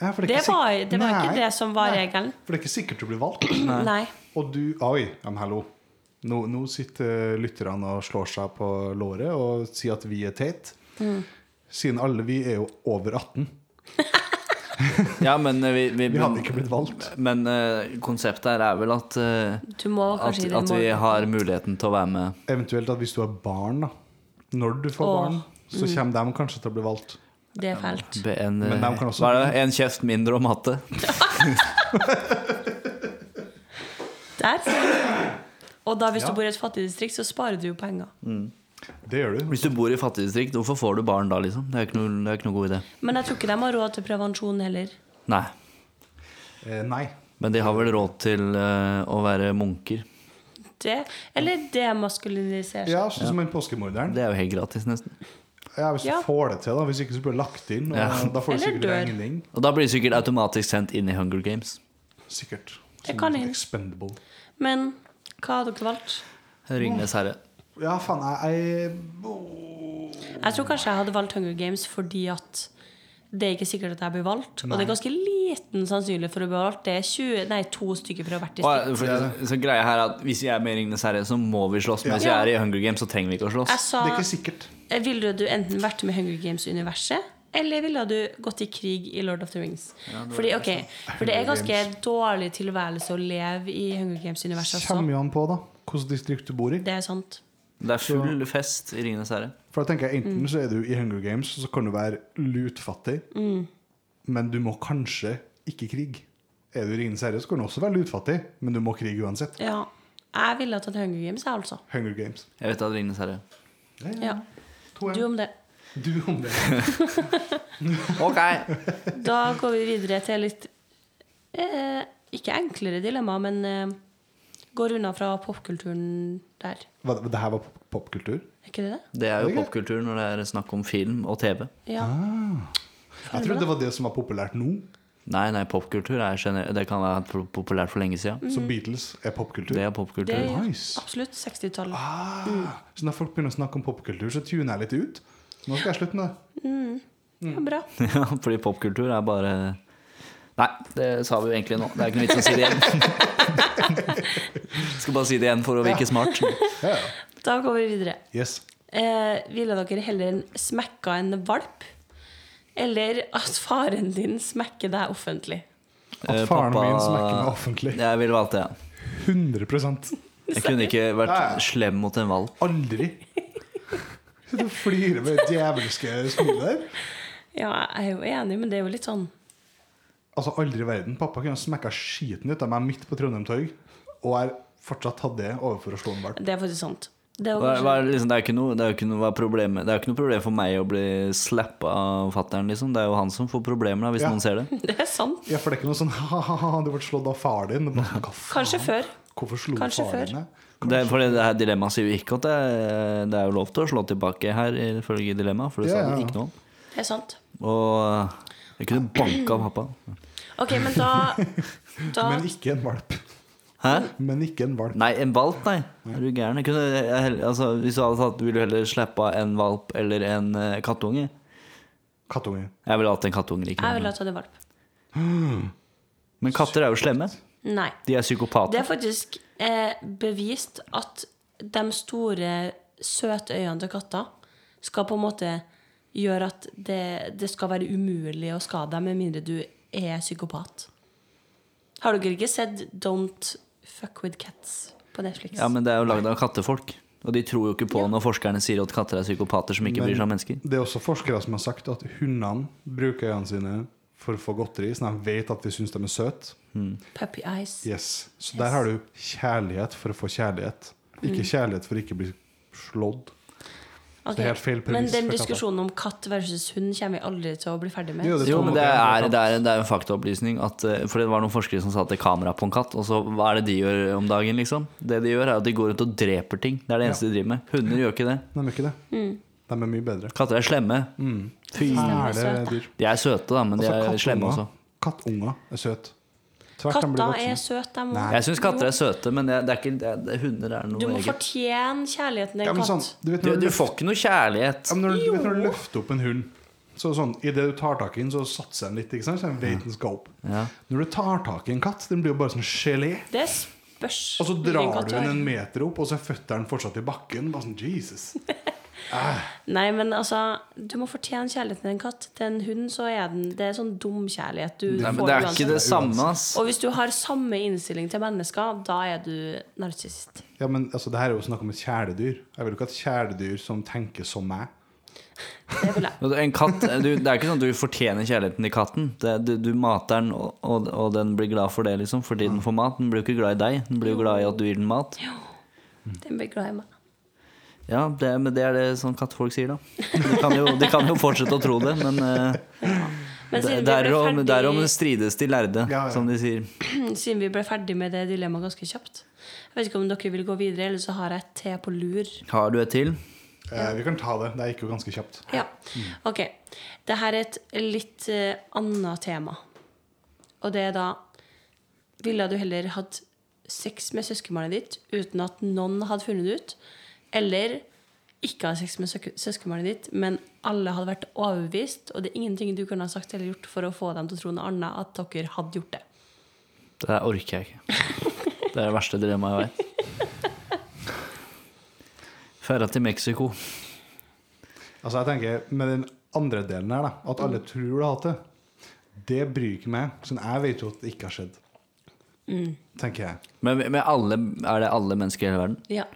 Speaker 1: Ja, for
Speaker 3: Det
Speaker 1: ikke
Speaker 3: var,
Speaker 1: sikk-
Speaker 3: det var
Speaker 1: altså, Nei,
Speaker 3: ikke det som var regelen.
Speaker 1: For det er ikke sikkert du blir valgt.
Speaker 3: Nei.
Speaker 1: Og du Oi, ja, men hallo. Nå, nå sitter lytterne og slår seg på låret og sier at vi er teit.
Speaker 3: Mm.
Speaker 1: Siden alle vi er jo over 18.
Speaker 2: Ja, men eh, vi, vi,
Speaker 1: Vi hadde ikke blitt valgt.
Speaker 2: Men eh, konseptet her er vel at, eh,
Speaker 3: Du må
Speaker 2: at,
Speaker 3: kanskje i
Speaker 2: at
Speaker 3: den
Speaker 2: vi
Speaker 3: måten.
Speaker 2: har muligheten til å være med.
Speaker 1: Eventuelt at hvis du har barn, da. Når du får
Speaker 3: Åh, Mm.
Speaker 1: barn, så kommer de kanskje til å bli valgt.
Speaker 3: Det er fælt.
Speaker 2: Be En, eh,
Speaker 1: Men de kan også-
Speaker 2: hva er det? en kjeft mindre om matte.
Speaker 3: Der. ser du. Og da hvis
Speaker 1: Ja.
Speaker 3: du bor i et fattig distrikt, så sparer du jo penger.
Speaker 1: Det gjør du.
Speaker 2: Hvis du bor i fattig distrikt, hvorfor får du barn da, liksom? Det er jo ikke noe, det er ikke noe god idé.
Speaker 3: Men jeg tror ikke de har råd til prevensjon heller.
Speaker 2: Nei.
Speaker 1: Eh, nei.
Speaker 2: Men de har vel råd til eh, å være munker.
Speaker 3: Det, eller demaskulinisere seg.
Speaker 1: Ja, sånn som en påskemorderen.
Speaker 2: Det er jo helt gratis, nesten.
Speaker 1: Ja, hvis du
Speaker 3: Ja.
Speaker 1: får det til, da. Hvis ikke så blir det lagt inn. Og
Speaker 2: Ja.
Speaker 1: Da får du
Speaker 3: Eller
Speaker 1: sikkert
Speaker 3: dør.
Speaker 1: regning.
Speaker 2: Og da blir det sikkert automatisk sendt inn i Hunger Games.
Speaker 1: Sikkert.
Speaker 3: Det
Speaker 1: Som
Speaker 3: kan
Speaker 1: sånn
Speaker 3: hende.
Speaker 1: Expendable.
Speaker 3: Men hva har dere valgt?
Speaker 2: Ringnes herre.
Speaker 1: Ja, faen, jeg, jeg
Speaker 3: Jeg tror kanskje jeg hadde valgt Hunger Games fordi at det er ikke sikkert at jeg blir valgt. Og det er ganske liten sannsynlig for å bli valgt. Det er 20, nei, to stykker fra hvert distrikt.
Speaker 2: Og, for, så greia her er at Hvis jeg er med i Ringnes herre, så må vi slåss. Men hvis jeg
Speaker 3: Ja.
Speaker 2: er i Hunger Games, så trenger vi ikke å
Speaker 3: Jeg
Speaker 2: slåss.
Speaker 3: sa
Speaker 1: Det er ikke sikkert.
Speaker 3: eh, Ville du enten vært med i Hunger Games-universet? Eller ville du gått i krig i Lord of the Rings? Fordi, ok, For det er ganske dårlig tilværelse å leve i Hunger Games-universet
Speaker 1: Kommer
Speaker 3: også.
Speaker 1: jo an på da hvilket distrikt du bor i.
Speaker 3: Det er sant.
Speaker 2: Det er full fest i Ringenes herre.
Speaker 1: For da tenker jeg
Speaker 3: Mm.
Speaker 1: Enten
Speaker 3: Mm.
Speaker 1: så er du i Hunger Games, så kan du være lutfattig, men du må kanskje ikke krig. Er du ringen seriøs, kan du også være litt utfattig, men du må krige uansett.
Speaker 3: Ja. Jeg ville tatt Hunger Games, jeg, altså.
Speaker 1: Hunger Games.
Speaker 2: Jeg vet at Ringenes herre.
Speaker 3: Ja.
Speaker 1: To
Speaker 3: Du
Speaker 1: M.
Speaker 3: om det.
Speaker 1: Du om det.
Speaker 2: Ok!
Speaker 3: Da går vi videre til litt eh, Ikke enklere dilemma, men eh, går unna fra popkulturen der.
Speaker 1: Hva, det her var pop- popkultur?
Speaker 3: Er ikke det det?
Speaker 2: Det er jo
Speaker 1: Ok.
Speaker 2: popkultur når det er snakk om film og TV.
Speaker 3: Ja.
Speaker 1: Ah, Jeg trodde det var det som var populært nå.
Speaker 2: Nei, nei, popkultur er gener Det kan være po- populært for lenge siden.
Speaker 3: Mhm.
Speaker 1: Så Beatles er popkultur.
Speaker 2: Det er popkultur.
Speaker 3: Det er
Speaker 1: Nice.
Speaker 3: absolutt 60-tallet.
Speaker 1: Ah, så når folk begynner å snakke om popkultur, så tuner jeg litt ut. Nå skal jeg slutte med det.
Speaker 3: Ja, bra.
Speaker 2: Ja, fordi popkultur er bare Nei, det sa vi jo egentlig nå. Det er ikke noe vits å si det igjen. Skal bare si det igjen for å virke smart.
Speaker 1: Ja, ja.
Speaker 3: Da går vi videre.
Speaker 1: Yes.
Speaker 3: Eh, ville dere heller en smekka en valp? Eller at faren din smekker deg offentlig?
Speaker 1: At
Speaker 2: Eh,
Speaker 1: faren
Speaker 2: pappa-
Speaker 1: min smekker meg offentlig.
Speaker 2: Jeg ville valgt det, ja.
Speaker 1: 100
Speaker 2: Jeg kunne ikke
Speaker 1: Ja, ja.
Speaker 2: vært slem mot en valp.
Speaker 1: Aldri. Du flirer med det djevelske smilet der.
Speaker 3: Ja, jeg er jo enig, men det er jo litt sånn
Speaker 1: Altså, aldri i verden. Pappa kunne ha smekka skiten ut av meg midt på Trondheim torg, og jeg fortsatt hadde det overfor å slå en valp.
Speaker 3: Det er faktisk sant. Det er jo
Speaker 2: Hva,
Speaker 3: kanskje-
Speaker 2: hva, er det liksom, det er jo ikke noe, det er jo ikke noe, hva er problemet? Det er jo ikke noe problem for meg å bli slappa av fatter'n, liksom. Det er jo han som får problemer da, hvis
Speaker 1: Ja.
Speaker 2: noen ser det.
Speaker 3: Det er sant.
Speaker 1: Ja, for det er ikke noe sånn ha-ha-ha, du ble slått av far din. Det er bare sånn, hva faen?
Speaker 3: Kanskje før.
Speaker 1: Hvorfor slo
Speaker 3: Kanskje
Speaker 1: faren
Speaker 3: før.
Speaker 1: din deg?
Speaker 2: det for det her dilemmaet sier jo ikke at det er, det er jo lov til å slå tilbake her, ifølge dilemmaet, for det sa
Speaker 1: Ja, ja.
Speaker 2: det ikke noe om.
Speaker 3: Det er sant.
Speaker 2: Og eh, jeg kunne banka pappa.
Speaker 3: Ok, men da, da
Speaker 1: Men ikke en valp.
Speaker 2: Hæ?
Speaker 1: Men ikke en valp.
Speaker 2: Nei, en valp, nei. Er du gæren? Jeg kunne, jeg, hell- altså, hvis du hadde tatt, ville du heller slippe av en valp eller en eh, kattunge?
Speaker 1: Kattunge.
Speaker 2: Jeg ville hatt en kattunge
Speaker 3: Jeg
Speaker 2: likevel.
Speaker 3: ville ha tatt en valp.
Speaker 2: Men katter er jo slemme.
Speaker 3: Nei.
Speaker 2: De er psykopater.
Speaker 3: Det er faktisk eh, bevist at de store, søte øynene til katter skal på en måte gjøre at det, det skal være umulig å skade dem, med mindre du er psykopat. Har dere ikke sett Don't Fuck With Cats på Netflix?
Speaker 2: Ja, men det er jo lagd av kattefolk. Og de tror jo ikke på når forskerne sier at katter er psykopater som ikke bryr seg om mennesker.
Speaker 1: Det er også forskere som har sagt at hundene bruker øynene sine for å få godteri, så de vet at vi syns de er søte.
Speaker 3: Puppy Eyes.
Speaker 1: Yes. Så der har du kjærlighet for å få kjærlighet. Ikke
Speaker 3: Mm.
Speaker 1: kjærlighet for å ikke bli slått.
Speaker 3: Ok,
Speaker 1: det er helt feil
Speaker 3: Men
Speaker 1: premiss
Speaker 3: den
Speaker 1: for katter.
Speaker 3: diskusjonen om katt versus hund kommer vi aldri til å bli ferdig med.
Speaker 1: Jo, det
Speaker 2: Jo,
Speaker 1: tror
Speaker 2: men
Speaker 1: jeg
Speaker 2: det
Speaker 1: nok
Speaker 2: er,
Speaker 1: jeg
Speaker 2: det er, det er en faktaopplysning. At, eh, for det var noen forskere som sa at det er kamera på en katt. Og så hva er det de gjør om dagen, liksom? Det de gjør, er at de går rundt og dreper ting. Det er det eneste de driver med. Hunder gjør ikke det.
Speaker 1: De er ikke det.
Speaker 3: Mm.
Speaker 1: De er mye bedre.
Speaker 2: Katter er slemme. Fy.
Speaker 1: Fæle dyr. Altså,
Speaker 2: De er søte, da, men de er slemme også.
Speaker 1: kattunger er søte. Tvert de blir
Speaker 3: Katter er
Speaker 1: voksne.
Speaker 3: søte, de
Speaker 1: Nei.
Speaker 3: også.
Speaker 2: Jeg syns katter er søte, men det er, det er ikke, det er, det- hunder er noe
Speaker 3: Du må
Speaker 2: eget.
Speaker 3: fortjene kjærligheten til
Speaker 1: Ja,
Speaker 3: en
Speaker 1: men
Speaker 3: katt.
Speaker 1: sånn, du vet
Speaker 2: Du,
Speaker 1: når du,
Speaker 2: du
Speaker 1: løfter,
Speaker 2: får ikke noe kjærlighet.
Speaker 1: ja, men når, du vet når du løfter opp en hund så sånn, Idet du tar tak i den, så satser den litt. Ikke sant? Så den vet den skal opp.
Speaker 2: Ja.
Speaker 1: Når du tar tak i en katt, den blir jo bare sånn gelé.
Speaker 3: Det spørs.
Speaker 1: Og så
Speaker 3: hvilken
Speaker 1: drar
Speaker 3: katt
Speaker 1: du den
Speaker 3: har.
Speaker 1: en meter opp, og så er føttene fortsatt i bakken. Bare sånn, Jesus
Speaker 3: Nei, men altså, du må fortjene kjærligheten til en katt. Til en hund så er den Det er sånn dum kjærlighet du
Speaker 2: Nei, men
Speaker 3: får
Speaker 2: det er
Speaker 3: uansett.
Speaker 2: ikke det samme, ass.
Speaker 3: Og hvis du har samme innstilling til mennesker, da er du narsissist.
Speaker 1: Ja, men altså, det her er jo snakk om et kjæledyr. Jeg vil jo ikke ha et kjæledyr som tenker som meg.
Speaker 3: Det vil jeg.
Speaker 2: Altså, En katt, du, det er ikke sånn at du fortjener kjærligheten til katten. Det, du, du mater den, og, og, og den blir glad for det, liksom, fordi den får mat. Den blir jo ikke glad i deg, den blir jo glad i at du gir den mat.
Speaker 3: Den blir glad i meg.
Speaker 2: Ja, det, men det er det sånn kattfolk sier, da. De kan jo, de kan jo fortsette å tro det, men eh,
Speaker 3: Men
Speaker 2: det-
Speaker 3: siden vi, ble
Speaker 2: derom
Speaker 3: ferdig,
Speaker 2: derom strides de lærde,
Speaker 1: Ja, ja.
Speaker 2: som de sier.
Speaker 3: siden vi ble ferdig med det dilemmaet ganske kjapt Jeg vet ikke om dere vil gå videre, eller så har jeg et te på lur.
Speaker 2: Har du et til?
Speaker 1: Eh, vi kan ta det. Det gikk jo ganske kjapt.
Speaker 3: Ja, ok. Dette er et litt eh, annet tema. Og det er da Ville du heller hatt sex med søskenbarnet ditt uten at noen hadde funnet det ut? Eller ikke ha sex med søk- søskenbarnet ditt, men alle hadde vært overbevist, og det er ingenting du kunne ha sagt eller gjort for å få dem til å tro noe annet at dere hadde gjort det?
Speaker 2: Det der orker jeg ikke. Det er det verste dilemmaet jeg vet. Ferda til Mexico.
Speaker 1: Altså, jeg tenker, Med den andre delen her, da, at alle tror du har hatt det, det bryr ikke meg. Sånn, jeg vet jo at det ikke har skjedd. Tenker jeg.
Speaker 2: Men, men alle, er det alle mennesker i hele verden?
Speaker 3: Ja.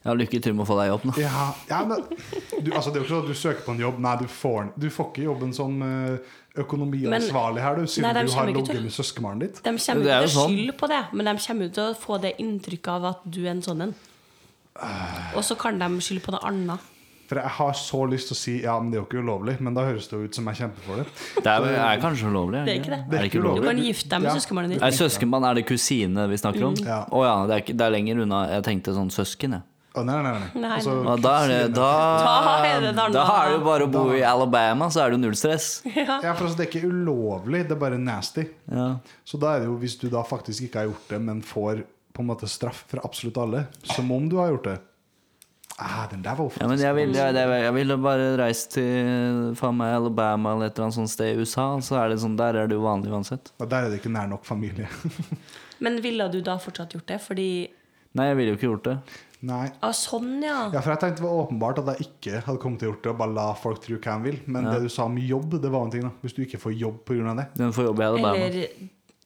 Speaker 2: Ja, lykke til med å få deg jobb, da.
Speaker 1: Ja, ja men du, altså, Det er jo ikke sånn at du søker på en jobb. Nei, du får, den- du får ikke jobben som eh, økonomiansvarlig her, du,
Speaker 3: Nei,
Speaker 1: siden
Speaker 3: de
Speaker 1: du har
Speaker 3: kommer ikke til-
Speaker 1: ligget med søskenbarnet ditt.
Speaker 3: De kommer
Speaker 2: Det er
Speaker 3: ikke til å
Speaker 2: jo sånn.
Speaker 3: skylde på det, men de kommer jo til å få det inntrykket av at du er en sånn en.
Speaker 2: Ah.
Speaker 3: Og så kan de skylde på noe annet.
Speaker 1: For jeg har så lyst til å si ja, men det er jo ikke ulovlig, men da høres det jo ut som jeg kjemper for det.
Speaker 2: Det er, er kanskje ulovlig?
Speaker 3: Det er ikke det.
Speaker 2: Er det ikke
Speaker 3: Du
Speaker 2: ulovlig?
Speaker 3: kan gifte deg med søskenbarnet ditt.
Speaker 2: Er søskenbarn er det kusine vi snakker
Speaker 3: Mm.
Speaker 2: om? Å
Speaker 1: Ja.
Speaker 2: ja, det er, ikke- det er lenger unna. Jeg tenkte sånn søsken, jeg.
Speaker 1: Å, nei, nei, nei. nei.
Speaker 3: Nei,
Speaker 1: Altså,
Speaker 2: Ja, da, er det, da,
Speaker 3: Da er det den
Speaker 2: da
Speaker 3: andre.
Speaker 2: er det jo bare å bo i Alabama, så er det jo null stress.
Speaker 1: ja, for altså, det er ikke ulovlig, det er bare nasty.
Speaker 2: Ja.
Speaker 1: Så da er det jo, hvis du da faktisk ikke har gjort det, men får på en måte straff fra absolutt alle, som om du har gjort det ah, Den der var jo
Speaker 2: Ja, men
Speaker 1: faktisk
Speaker 2: jeg ville, jeg, jeg ville bare reist til faen meg Alabama eller et eller annet sånt sted i USA. Så er det sånn, Der er det jo vanlig uansett.
Speaker 1: Ja, Der er det ikke nær nok familie.
Speaker 3: Men ville du da fortsatt gjort det? Fordi
Speaker 2: Nei, jeg ville jo ikke gjort det.
Speaker 1: Nei.
Speaker 3: ah, sånn, ja.
Speaker 1: Ja, for jeg tenkte det var åpenbart at jeg ikke hadde kommet til å gjort det og bare la folk tro hva de vil. Men det du sa om jobb, det var en ting, da. Hvis du ikke får jobb pga. det.
Speaker 2: Den får jobbe i Alabama.
Speaker 3: Eller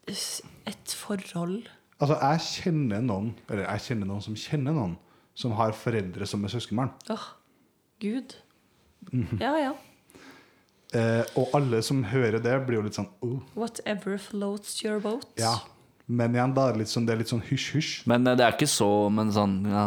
Speaker 3: s- et forhold.
Speaker 1: Altså, jeg kjenner noen, eller jeg kjenner noen som kjenner noen, som har foreldre som er søskenbarn.
Speaker 3: Åh, Gud.
Speaker 1: Mhm.
Speaker 3: Ja, ja.
Speaker 1: Eh, og alle som hører det, blir jo litt sånn oh.
Speaker 3: Whatever floats your boat.
Speaker 1: Ja. Men igjen, da er det litt sånn, det er litt sånn hysj-hysj.
Speaker 2: Men eh, det er ikke så Men sånn, ja,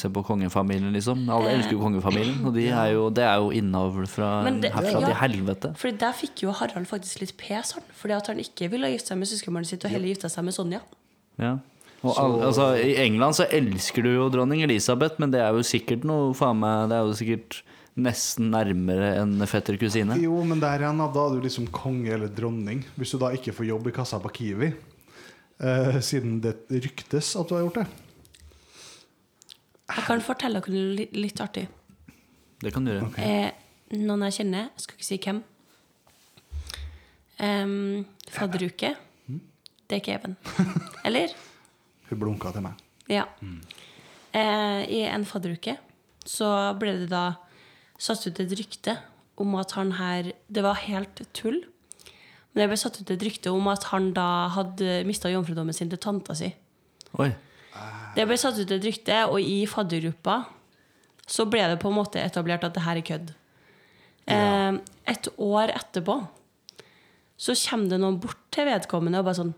Speaker 2: se på kongefamilien, liksom.
Speaker 3: Eh,
Speaker 2: Alle elsker jo kongefamilien, og de er jo, det er jo innavl fra
Speaker 3: Men det-
Speaker 2: herfra
Speaker 3: ja.
Speaker 2: til helvete.
Speaker 3: Fordi Der fikk jo Harald faktisk litt pes, han. Fordi at han ikke ville gifte seg med søskenbarnet sitt, og heller gifta seg med Sonja.
Speaker 2: Ja. Og alle- altså, I England så elsker du jo dronning Elisabeth, men det er jo sikkert noe faen meg Det er jo sikkert nesten nærmere enn fetter kusine.
Speaker 1: Jo, men der igjen, da, da er du liksom konge eller dronning. Hvis du da ikke får jobb i kassa på Kiwi, eh, siden det ryktes at du har gjort det.
Speaker 3: Jeg kan fortelle dere noe li- litt artig.
Speaker 2: Det kan du gjøre.
Speaker 3: Eh, noen jeg kjenner, jeg skal ikke si hvem Em, Fadderuke.
Speaker 1: Mhm.
Speaker 3: Det er ikke Even. Eller?
Speaker 1: Hun blunka til meg.
Speaker 3: Ja. Eh, I en fadderuke så ble det da satt ut et rykte om at han her Det var helt tull. Men det ble satt ut et rykte om at han da hadde mista jomfrudommen sin til tanta si.
Speaker 2: Oi.
Speaker 3: Det ble satt ut et rykte, og i faddergruppa så ble det på en måte etablert at det her er kødd. Eh, et år etterpå så kommer det noen bort til vedkommende og bare sånn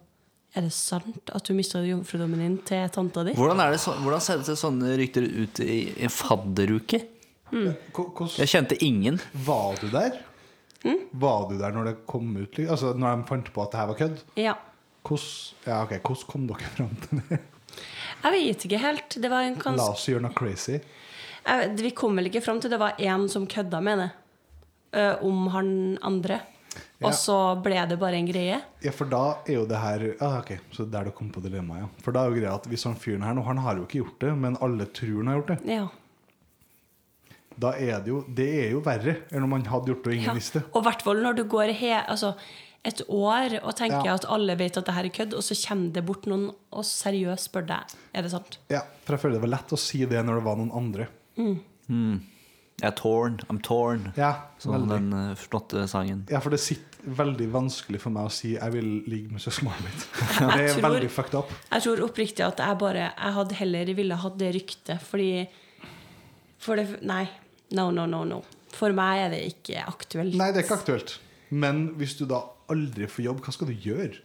Speaker 3: Er det sant at du mista jomfrudommen din til tanta di?
Speaker 2: Hvordan, er det så, hvordan ser det seg sånne rykter ut i en fadderuke?
Speaker 1: Ko- Hvordan
Speaker 2: Jeg kjente ingen.
Speaker 1: Var du der? Var du der når det kom ut? li- Altså når de fant på at det her var kødd?
Speaker 3: Ja.
Speaker 1: Hvordan ja, ok, hvordan kom dere fram til det?
Speaker 3: Jeg vet ikke helt. Det var en
Speaker 1: La
Speaker 3: kans...
Speaker 1: oss gjøre noe crazy.
Speaker 3: jeg, vet- vi kom vel ikke fram til det var én som kødda med det ø, om han andre.
Speaker 1: Ja.
Speaker 3: Og så ble det bare en greie.
Speaker 1: Ja, for da er jo det her ah, Ok, så der du kom på dilemmaet, ja. For da er jo greia at hvis han fyren her nå, han har jo ikke gjort det, men alle tror han har gjort det.
Speaker 3: Ja.
Speaker 1: Da er det jo Det er jo verre enn om han hadde gjort det og ingen
Speaker 3: ja.
Speaker 1: visste.
Speaker 3: Og i hvert fall når du går he, altså, et år og tenker
Speaker 1: Ja.
Speaker 3: at alle vet at det her er kødd, og så kommer det bort noen og seriøst spør deg er det sant.
Speaker 1: Ja, For jeg føler det var lett å si det når det var noen andre.
Speaker 2: Jeg er torn. I'm torn.
Speaker 1: Ja,
Speaker 2: Som
Speaker 1: veldig.
Speaker 2: den eh, flotte sangen.
Speaker 1: Ja, for det sitter veldig vanskelig for meg å si 'jeg vil ligge med søskenbarnet mitt'. Det
Speaker 3: Jeg
Speaker 1: er
Speaker 3: tror-
Speaker 1: veldig fucked up.
Speaker 3: Jeg tror oppriktig at jeg bare Jeg hadde heller ville hatt det ryktet, fordi For det Nei. No, no, no, no. For meg er det ikke aktuelt.
Speaker 1: Nei, det er ikke aktuelt. Men hvis du da aldri får jobb, hva skal du gjøre?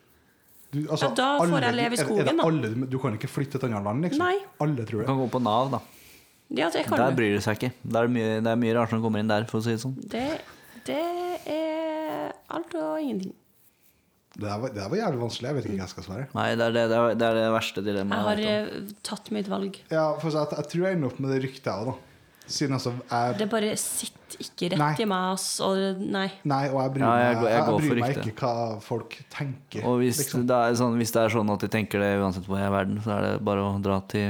Speaker 1: Du, altså,
Speaker 3: Ja, da får jeg leve i
Speaker 1: er- er
Speaker 3: skogen,
Speaker 1: det
Speaker 3: da.
Speaker 1: alle, du kan ikke flytte til et annet land, liksom?
Speaker 3: Nei.
Speaker 1: Alle tror
Speaker 2: Du
Speaker 1: det.
Speaker 2: kan gå på Nav, da.
Speaker 3: Ja, det kan
Speaker 2: Der
Speaker 3: du.
Speaker 2: bryr de seg ikke. Det er, det mye, det er mye rart som kommer inn der, for å si det sånn.
Speaker 3: Det, det er alt og ingenting.
Speaker 1: Det der var, det der var jævlig vanskelig. Jeg vet ikke hva jeg skal svare.
Speaker 2: Nei, det er det, det, er, det, er det verste
Speaker 3: Jeg
Speaker 2: dilemmaet.
Speaker 3: har
Speaker 2: jeg vet
Speaker 3: eh, tatt mitt valg.
Speaker 1: Ja, for så at, jeg tror jeg ender opp med det ryktet, jeg òg, da. Siden altså jeg,
Speaker 3: Det bare sitter ikke rett
Speaker 1: Nei.
Speaker 3: i meg, ass. Og nei.
Speaker 1: Nei, og jeg bryr
Speaker 2: Ja, jeg
Speaker 1: meg,
Speaker 2: går-
Speaker 1: jeg,
Speaker 2: jeg går for
Speaker 1: bryr meg
Speaker 2: ryktet.
Speaker 1: ikke hva folk tenker.
Speaker 2: om. Og hvis,
Speaker 1: liksom.
Speaker 2: det er sånn, hvis det er sånn at de tenker det uansett hvor jeg er i verden, så er det bare å dra til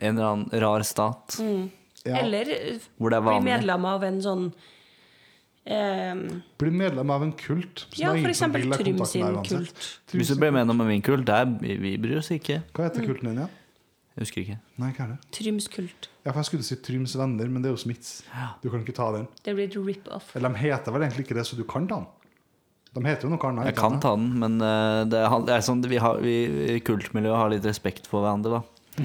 Speaker 2: en eller annen rar stat.
Speaker 3: Mm.
Speaker 1: Ja.
Speaker 3: Eller eh,
Speaker 2: Hvor det er
Speaker 3: bli
Speaker 2: vanlig.
Speaker 3: medlem av en sånn eh,
Speaker 1: Bli medlem av en kult. så
Speaker 3: Ja,
Speaker 1: det er
Speaker 3: for
Speaker 1: ingen som
Speaker 3: eksempel
Speaker 1: vil ha
Speaker 3: Trym
Speaker 1: kontakt med
Speaker 3: sin
Speaker 1: deg uansett.
Speaker 3: kult.
Speaker 1: Trym
Speaker 2: Hvis du
Speaker 1: sin-
Speaker 2: blir medlem av min kult, det er, vi, vi bryr oss ikke.
Speaker 1: Hva
Speaker 3: Mm.
Speaker 1: heter kulten din, ja?
Speaker 2: Jeg husker ikke.
Speaker 1: Nei, hva er det?
Speaker 3: Tryms kult.
Speaker 1: Ja, for jeg skulle si Tryms venner, men det er jo Smiths. Du kan ikke ta den.
Speaker 3: Det blir et rip-off.
Speaker 1: Eller de heter vel egentlig ikke det, så du kan ta den. De heter jo noe annet.
Speaker 2: Jeg
Speaker 1: ikke
Speaker 2: kan
Speaker 1: sant?
Speaker 2: ta den, men eh, det er, han- det er sånn, vi, har, vi i kultmiljøet har litt respekt for hverandre, da.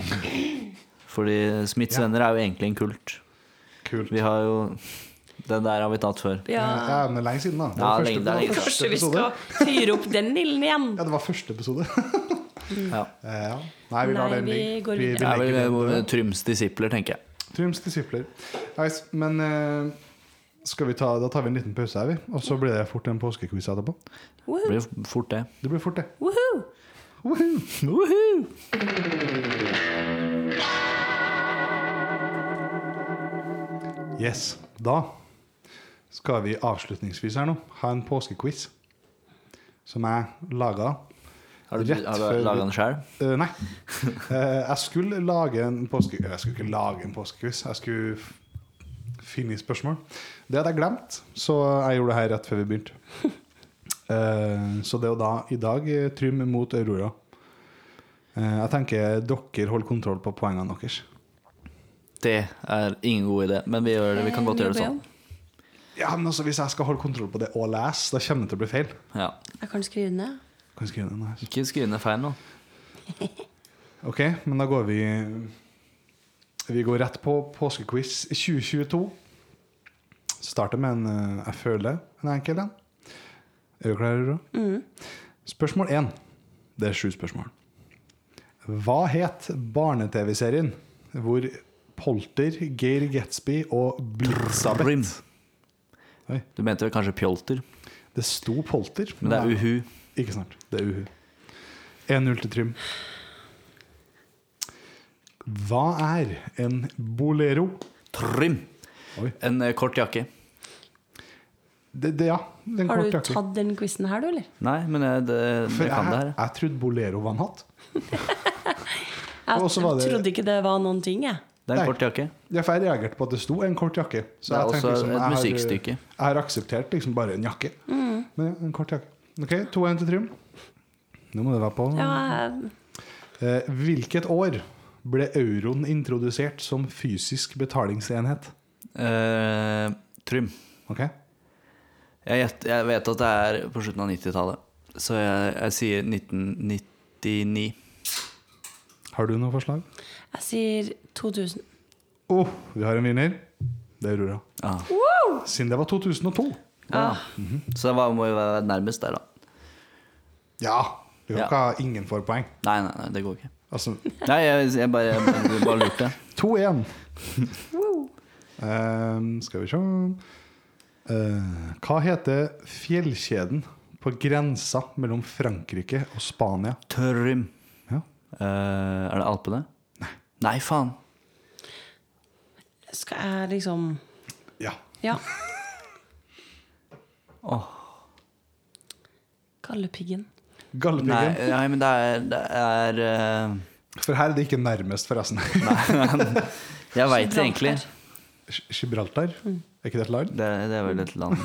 Speaker 2: Fordi smittsvenner er jo egentlig en kult.
Speaker 1: Kult. Eh,
Speaker 2: Vi har jo Den der har vi tatt før.
Speaker 3: Ja.
Speaker 1: Ja, men det er lenge siden, da. Det
Speaker 2: Ja,
Speaker 1: var første,
Speaker 2: lenge- det er
Speaker 1: det var
Speaker 2: lenge
Speaker 1: første
Speaker 3: Kanskje vi
Speaker 1: episode.
Speaker 3: skal fyre opp den ilden igjen?
Speaker 1: Ja, det var første episode.
Speaker 3: Mm.
Speaker 2: Ja.
Speaker 1: Eh, ja. Nei, vi lar
Speaker 3: Nei,
Speaker 1: den
Speaker 3: vi
Speaker 1: ligge.
Speaker 3: går
Speaker 1: Vi, vi
Speaker 3: videre.
Speaker 2: Det er
Speaker 1: legger den
Speaker 2: vel eh,
Speaker 1: død.
Speaker 2: Tryms disipler, tenker jeg.
Speaker 1: Trums disipler. Nice. Men eh, skal vi ta, da tar vi en liten pause her, vi. Og så blir det fort en påskequiz etterpå.
Speaker 2: Det
Speaker 3: Woohoo!
Speaker 2: blir jo fort det.
Speaker 1: Det blir fort, det.
Speaker 3: Woohoo!
Speaker 1: Woohoo! Yes. Da skal vi avslutningsvis her nå ha en påskequiz som jeg laga.
Speaker 2: Har du,
Speaker 1: Rett
Speaker 2: har
Speaker 1: før
Speaker 2: du
Speaker 1: vi-
Speaker 2: laga den sjøl?
Speaker 1: Eh, nei. Eh, jeg skulle lage en påske... Jeg skulle ikke lage en påskequiz. Jeg skulle f- finne spørsmål. Det hadde jeg glemt, så jeg gjorde det her rett før vi begynte. Eh, så det er jo da i dag eh, Trym mot Aurora. Eh, jeg tenker dere holder kontroll på poengene deres.
Speaker 2: Det er ingen god idé, men vi, gjør, vi kan godt
Speaker 3: Eh,
Speaker 2: gjøre det sånn.
Speaker 1: Ja, men altså Hvis jeg skal holde kontroll på det og lese, da kommer det til å bli feil.
Speaker 2: Ja.
Speaker 3: Jeg kan skrive den ned.
Speaker 1: Kan jeg skrive den her?
Speaker 2: Ikke skriv ned feil nå.
Speaker 1: Ok, men da går vi Vi går rett på påskequiz 2022. Starter med en eh, jeg føler en enkel en. Er du klar, Aurora?
Speaker 2: Mm.
Speaker 1: Spørsmål én. Det er sju spørsmål. Hva het barne-TV-serien hvor Polter, Geir Gatsby og
Speaker 2: Brim.
Speaker 1: Blitzabeth Oi.
Speaker 2: Du mente vel kanskje Pjolter,
Speaker 1: Det sto Polter.
Speaker 2: men det er
Speaker 1: nei,
Speaker 2: Uhu.
Speaker 1: Ikke snart. Det er uhu. 1-0 til Trym. Hva er en bolero?
Speaker 2: Trym!
Speaker 1: Oi.
Speaker 2: En eh, kort jakke.
Speaker 1: Det, det, ja, den
Speaker 3: Har
Speaker 1: kort
Speaker 3: du
Speaker 1: jakke.
Speaker 3: tatt den quizen her, du, eller?
Speaker 2: Nei, men jeg, det,
Speaker 1: For
Speaker 2: jeg kan det
Speaker 1: jeg,
Speaker 2: her.
Speaker 1: jeg trodde bolero var en hatt. Og
Speaker 3: Jeg
Speaker 1: så var det-
Speaker 3: trodde ikke det var noen ting, jeg.
Speaker 2: Det er
Speaker 1: Nei.
Speaker 2: en kort jakke.
Speaker 1: Ja, for jeg reagerte på at det sto en kort jakke. Så
Speaker 2: Det er
Speaker 1: jeg tenkte
Speaker 2: også
Speaker 1: liksom,
Speaker 2: et
Speaker 1: jeg har-
Speaker 2: musikkstykke.
Speaker 1: Jeg har akseptert liksom bare en jakke.
Speaker 3: Mm.
Speaker 1: Men ja, en kort jakke. Ok, 2-1 til Trym. Nå må det være på.
Speaker 3: Ja, jeg-
Speaker 1: Eh, hvilket år ble euroen introdusert som fysisk betalingsenhet?
Speaker 2: Eh, Trym.
Speaker 1: Ok?
Speaker 2: Jeg, gjett- jeg vet at det er på slutten av 90-tallet, så jeg, jeg sier 1999.
Speaker 1: Har du noe forslag?
Speaker 3: jeg sier 2000.
Speaker 1: Oh, vi har en vinner. Det er Aurora.
Speaker 2: Ah.
Speaker 1: Siden det var 2002.
Speaker 2: Ja.
Speaker 1: Ah. Mhm.
Speaker 2: Så det var, må jo være nærmest der, da.
Speaker 1: Ja. Vi kan
Speaker 2: Ja.
Speaker 1: ikke ha ingen forpoeng.
Speaker 2: Nei, nei, nei det går ikke.
Speaker 1: Altså
Speaker 2: Nei, jeg, jeg bare, jeg bare, bare lurte.
Speaker 1: 2-1. Ehm, skal vi se Eh, Hva heter fjellkjeden på grensa mellom Frankrike og Spania?
Speaker 2: Tørrim.
Speaker 1: Ja.
Speaker 2: Eh, er det Alpene? Nei. Nei, faen.
Speaker 3: Skal jeg liksom
Speaker 1: ja.
Speaker 3: Ja.
Speaker 2: Åh.
Speaker 3: Gallepiggen.
Speaker 2: Nei,
Speaker 1: Galdhøpiggen.
Speaker 2: nei, men det er, det er eh,
Speaker 1: For her er det ikke nærmest, forresten.
Speaker 2: Jeg veit det
Speaker 3: Gibraltar.
Speaker 2: egentlig.
Speaker 1: Gi- Gibraltar?
Speaker 2: Mm.
Speaker 1: Er ikke det et land?
Speaker 2: Det, det er vel et land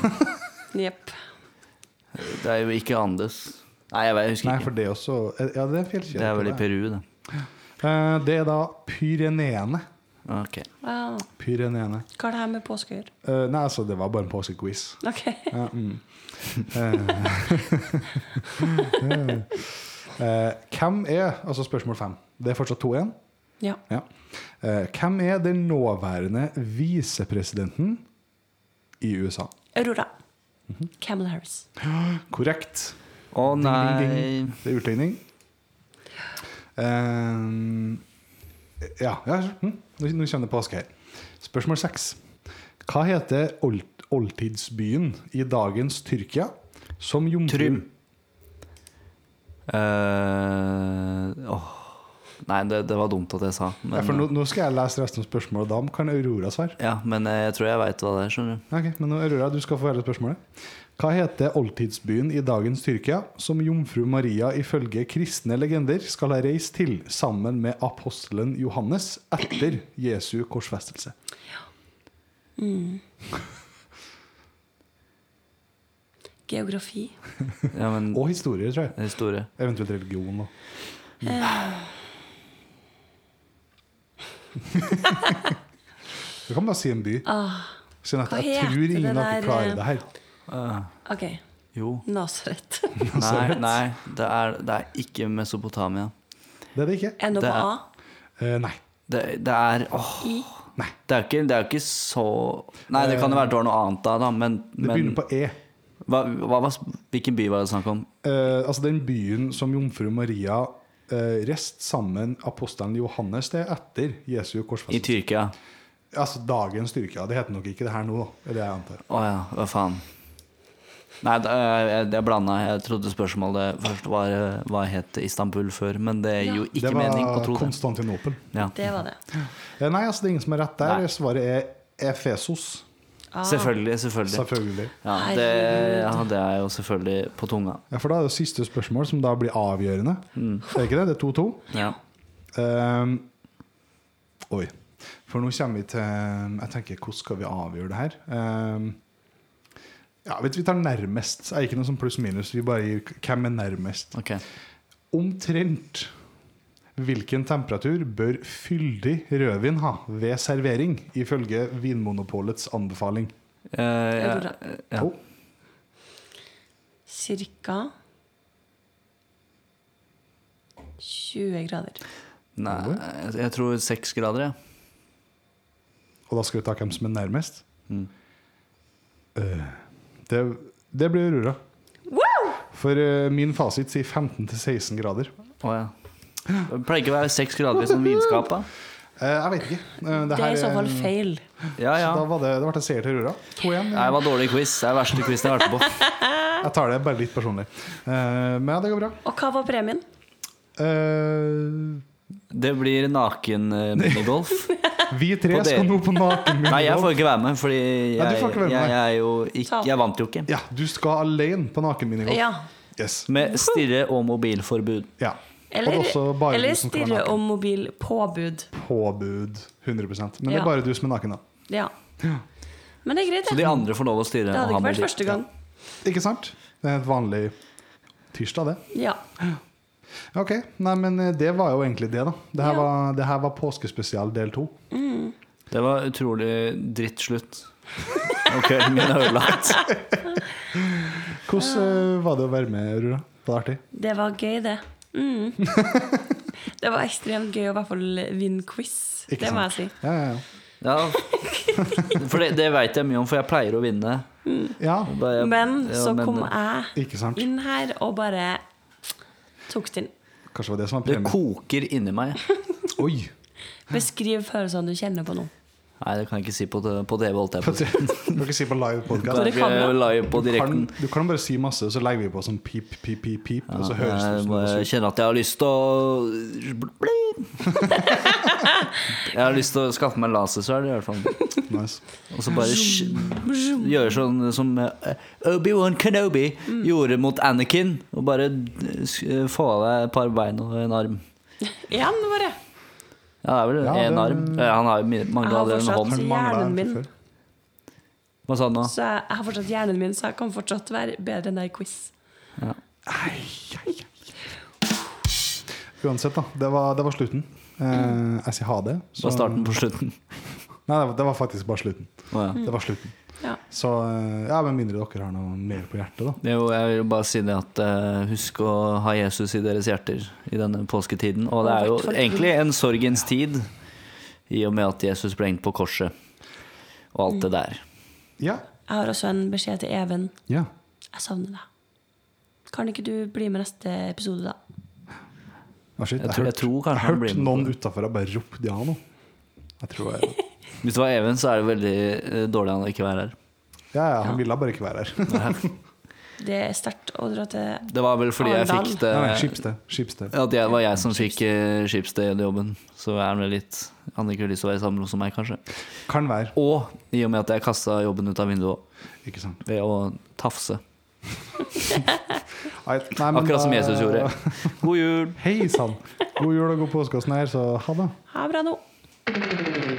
Speaker 3: Jepp.
Speaker 2: Det er jo ikke Andes. Nei, jeg, vet, jeg husker
Speaker 1: Nei,
Speaker 2: ikke.
Speaker 1: for det er også Ja, det er en fjellkjede.
Speaker 2: Det er vel i Peru, det.
Speaker 1: Eh, det er da Pyreneene.
Speaker 2: Ok.
Speaker 3: Wow.
Speaker 1: Pyreneene.
Speaker 3: Hva har det her med påske å gjøre?
Speaker 1: Eh, nei, altså, det var bare en påskequiz.
Speaker 3: Ok.
Speaker 1: Ja, mm. Eh, eh, hvem er Altså spørsmål fem. Det er fortsatt 2-1.
Speaker 3: Ja.
Speaker 1: Ja. Eh, hvem er den nåværende visepresidenten i USA?
Speaker 3: Aurora.
Speaker 2: Mhm.
Speaker 3: Camel Harris.
Speaker 1: Korrekt.
Speaker 2: Å nei
Speaker 1: Ding, ding, ding. Det er utligning. Eh, ja, ja hm. nå nå kommer det påske her. Spørsmål seks. Hva heter old, oldtidsbyen i dagens Tyrkia som jomfru...
Speaker 2: Trym. Eh, åh. Nei, det, det var dumt at jeg sa. Men,
Speaker 1: ja, for nå, nå skal jeg lese resten av spørsmålet, og da kan Aurora svare.
Speaker 2: ja, men eh, jeg tror jeg veit hva det er, skjønner du.
Speaker 1: Ok, men nå, Aurora, du skal få hele spørsmålet. Hva heter oldtidsbyen i dagens Tyrkia, som jomfru Maria ifølge kristne legender skal ha reist til sammen med apostelen Johannes etter Jesu korsfestelse?
Speaker 3: Geografi.
Speaker 2: Ja, men
Speaker 1: Og historier, tror jeg.
Speaker 2: historie.
Speaker 1: Eventuelt religion. da. Du kan bare si en by. Siden at
Speaker 3: Ah, hva
Speaker 1: jeg
Speaker 3: heter
Speaker 1: tror
Speaker 3: det
Speaker 1: ingen av
Speaker 3: der, eh,
Speaker 1: dere klarer det her.
Speaker 3: OK.
Speaker 2: Jo.
Speaker 3: Nasaret.
Speaker 2: Nei, nei det, er, det er ikke Mesopotamia.
Speaker 1: Det er det ikke.
Speaker 3: Er det noe
Speaker 2: Det
Speaker 3: på
Speaker 2: er-
Speaker 3: A?
Speaker 1: Eh, nei.
Speaker 2: Det, det er åh,
Speaker 3: I.
Speaker 2: det er jo ikke, det er jo ikke så Nei, det kan jo være det var noe annet da, da men,
Speaker 1: Det
Speaker 2: men
Speaker 1: begynner på E.
Speaker 2: hva, hva, var- Hvilken by var det snakk om?
Speaker 1: Eh, altså den byen som jomfru Maria eh, rest sammen apostelen Johannes det er etter Jesu
Speaker 2: I
Speaker 1: korsfestelse.
Speaker 2: Tyrkia?
Speaker 1: Altså dagens Tyrkia. Det heter nok ikke det her nå, da. Det er det jeg antar.
Speaker 2: Å ja, hva faen. Nei, da, jeg, jeg blanda. Jeg trodde spørsmålet først var eh, hva het Istanbul før, men det gir jo ikke
Speaker 1: det var
Speaker 2: mening å tro det.
Speaker 1: Konstantinopel.
Speaker 2: Ja.
Speaker 3: Det var det.
Speaker 1: Eh, nei, altså det er ingen som har rett der.
Speaker 2: Nei.
Speaker 1: Svaret er Efesos.
Speaker 3: Ah.
Speaker 2: Selvfølgelig, selvfølgelig.
Speaker 1: Selvfølgelig.
Speaker 2: Ja, det hadde jeg jo selvfølgelig på tunga.
Speaker 1: Ja, For da er det siste spørsmål, som da blir avgjørende. Er det ikke det? Det er 2-2.
Speaker 2: Ja.
Speaker 1: Ehm, oi. For nå kommer vi til Jeg tenker, hvordan skal vi avgjøre det her? Ehm, ja, vet du, Vi tar nærmest. Det er ikke noe sånn pluss-minus. Vi bare gir hvem er nærmest.
Speaker 2: Ok.
Speaker 1: Omtrent hvilken temperatur bør fyldig rødvin ha ved servering, ifølge Vinmonopolets anbefaling?
Speaker 2: Eh, jeg,
Speaker 3: tror
Speaker 2: ja.
Speaker 1: Oh,
Speaker 3: Cirka 20 grader.
Speaker 2: Nei, jeg- jeg tror seks grader, jeg.
Speaker 1: og da skal vi ta hvem som er nærmest?
Speaker 2: Mm.
Speaker 1: Eh, det, det blir Aurora.
Speaker 3: Wow!
Speaker 1: For eh, min fasit sier 15-16 grader.
Speaker 2: Å ja. Det pleier ikke å være seks grader i sånn vinskap, da.
Speaker 1: Eh, jeg vet ikke. Eh,
Speaker 3: Det er i så fall
Speaker 1: eh,
Speaker 3: feil.
Speaker 2: Ja, ja.
Speaker 1: så Da var det, det ble en seier til Aurora. 2-1.
Speaker 2: Nei, Det var dårlig quiz. Det er verste quizen jeg har vært på.
Speaker 1: Jeg tar det bare litt personlig. Eh, men ja, det går bra.
Speaker 3: Og hva var premien?
Speaker 1: Eh,
Speaker 2: Det blir naken eh, minigolf.
Speaker 1: vi tre
Speaker 2: På
Speaker 1: skal
Speaker 2: dere.
Speaker 1: nå på naken
Speaker 2: Nei, jeg får
Speaker 1: minigolf.
Speaker 2: ikke være med, fordi
Speaker 1: Nei,
Speaker 2: jeg,
Speaker 1: du får ikke være med.
Speaker 2: jeg, jeg, er jo ikke,
Speaker 3: Tap.
Speaker 2: jeg vant jo ikke.
Speaker 1: Ja, du skal alene på naken minigolf.
Speaker 3: Ja.
Speaker 1: Yes.
Speaker 2: Med stirre- og mobilforbud.
Speaker 1: ja.
Speaker 3: Eller,
Speaker 1: og også bare
Speaker 3: eller
Speaker 1: du som kan
Speaker 3: stirre
Speaker 1: være
Speaker 3: og
Speaker 1: naken.
Speaker 3: mobilpåbud.
Speaker 1: Påbud 100 Men det
Speaker 3: Ja.
Speaker 1: er bare du som er naken, da.
Speaker 3: Ja. Men det er greit,
Speaker 2: Så de
Speaker 3: det.
Speaker 2: andre får lov å stirre
Speaker 3: Det hadde
Speaker 2: og ha
Speaker 3: ikke vært
Speaker 2: mobil.
Speaker 3: første gang.
Speaker 1: Ikke sant? Det er et vanlig tirsdag, det.
Speaker 3: Ja.
Speaker 1: Ok, nei, men eh, det var jo egentlig det, da. Det her,
Speaker 3: Ja.
Speaker 1: var, det her var påskespesial del to.
Speaker 2: Det var utrolig drittslutt. Og kvelden min er ødelagt.
Speaker 1: Hvordan eh, var det å være med, Aurora? Var det artig?
Speaker 3: Det var gøy, det. Mm. det var ekstremt gøy å i hvert fall vinne quiz.
Speaker 1: Ikke
Speaker 3: det må jeg si.
Speaker 1: Ja, ja, ja.
Speaker 2: Ja. For det, det veit jeg mye om, for jeg pleier å vinne.
Speaker 1: Ja,
Speaker 2: Da jeg-
Speaker 3: Men
Speaker 2: ja,
Speaker 3: så kom jeg
Speaker 1: ikke sant?
Speaker 3: inn her og bare tok den.
Speaker 1: Kanskje det var det som var
Speaker 2: Det
Speaker 1: premien.
Speaker 2: koker inni meg.
Speaker 1: Oi!
Speaker 3: Beskriv følelsene du kjenner på nå.
Speaker 2: Nei, det kan jeg ikke si på, det- på TV, holdt jeg på å si.
Speaker 1: Du kan ikke si på live
Speaker 2: Kan
Speaker 1: podcast
Speaker 2: jeg ikke live på
Speaker 1: Du kan,
Speaker 2: direkten.
Speaker 1: du kan bare si masse, så legger vi på sånn pip, pip, pip, pip, og så høres det
Speaker 2: Jeg
Speaker 1: ut som
Speaker 2: må-
Speaker 1: noe
Speaker 2: jeg
Speaker 1: sykt.
Speaker 2: kjenner at jeg har lyst til å Jeg har lyst til å skaffe meg en lasersverd, i hvert fall.
Speaker 1: sånn Nice.
Speaker 2: Og så bare sk- gjøre sånn som eh, Obi-Wan Kenobi gjorde mot Anakin. Og bare eh, sk- eh, få av deg et par bein og en arm.
Speaker 3: Igjen, bare.
Speaker 2: Ja, det er vel
Speaker 1: Ja,
Speaker 2: en
Speaker 1: det-
Speaker 2: arm. Eh, Han har jo mi-
Speaker 3: Jeg
Speaker 2: mangler
Speaker 3: har
Speaker 2: allerede en
Speaker 3: fortsatt
Speaker 2: hånd.
Speaker 1: Manglet
Speaker 3: hjernen
Speaker 1: en
Speaker 3: min.
Speaker 1: fra før.
Speaker 2: Hva sa han nå?
Speaker 3: Så jeg, jeg har fortsatt hjernen min, så jeg kan fortsatt være bedre enn deg i quiz.
Speaker 1: Uansett, da. Det var, det var slutten. Eh, jeg sier ha det.
Speaker 2: Det var starten på slutten.
Speaker 1: Nei, det var, det var faktisk bare slutten.
Speaker 2: Å, ja.
Speaker 1: Det var slutten.
Speaker 3: Ja.
Speaker 1: Så eh, ja, med mindre dere har noe mer på hjertet, da.
Speaker 2: Jo, jeg vil jo bare si det at eh, husk å ha Jesus i deres hjerter i denne påsketiden. Og det er jo egentlig en sorgens tid, i og med at Jesus ble hengt på korset og alt det der.
Speaker 1: Ja.
Speaker 3: Jeg har også en beskjed til Even.
Speaker 1: ja.
Speaker 3: Jeg savner deg. Kan ikke du bli med neste episode, da?
Speaker 1: Ah, shit,
Speaker 2: Jeg
Speaker 1: jeg
Speaker 2: tror- jeg
Speaker 1: hørte-
Speaker 2: tror kanskje
Speaker 1: jeg
Speaker 2: han blir
Speaker 1: hørte
Speaker 2: med på
Speaker 1: noen
Speaker 2: det.
Speaker 1: utafor og bare ropte ja nå. Jeg tror jeg
Speaker 2: Hvis det var Even, så er det veldig eh, dårlig han ikke være her.
Speaker 1: Ja, ja, han ville bare ikke være her.
Speaker 3: Det er sterkt å dra til
Speaker 2: Det var vel fordi jeg
Speaker 3: Arendal.
Speaker 2: fikk det
Speaker 1: Nei, nei, Skipsted. Skipsted.
Speaker 2: At jeg, var jeg som fikk eh, skipsstedjobben. Så er han vel litt Han ikke har lyst til å være sammen med meg, kanskje.
Speaker 1: Kan være.
Speaker 2: Og i og med at jeg kasta jobben ut av vinduet også,
Speaker 1: Ikke sant.
Speaker 2: ved å tafse.
Speaker 1: Nei, nei, men
Speaker 2: Akkurat som
Speaker 1: da-
Speaker 2: Jesus gjorde. God jul!
Speaker 1: Hei sann! God jul og god påske og sånn her, så ha det.
Speaker 3: Ha det bra nå.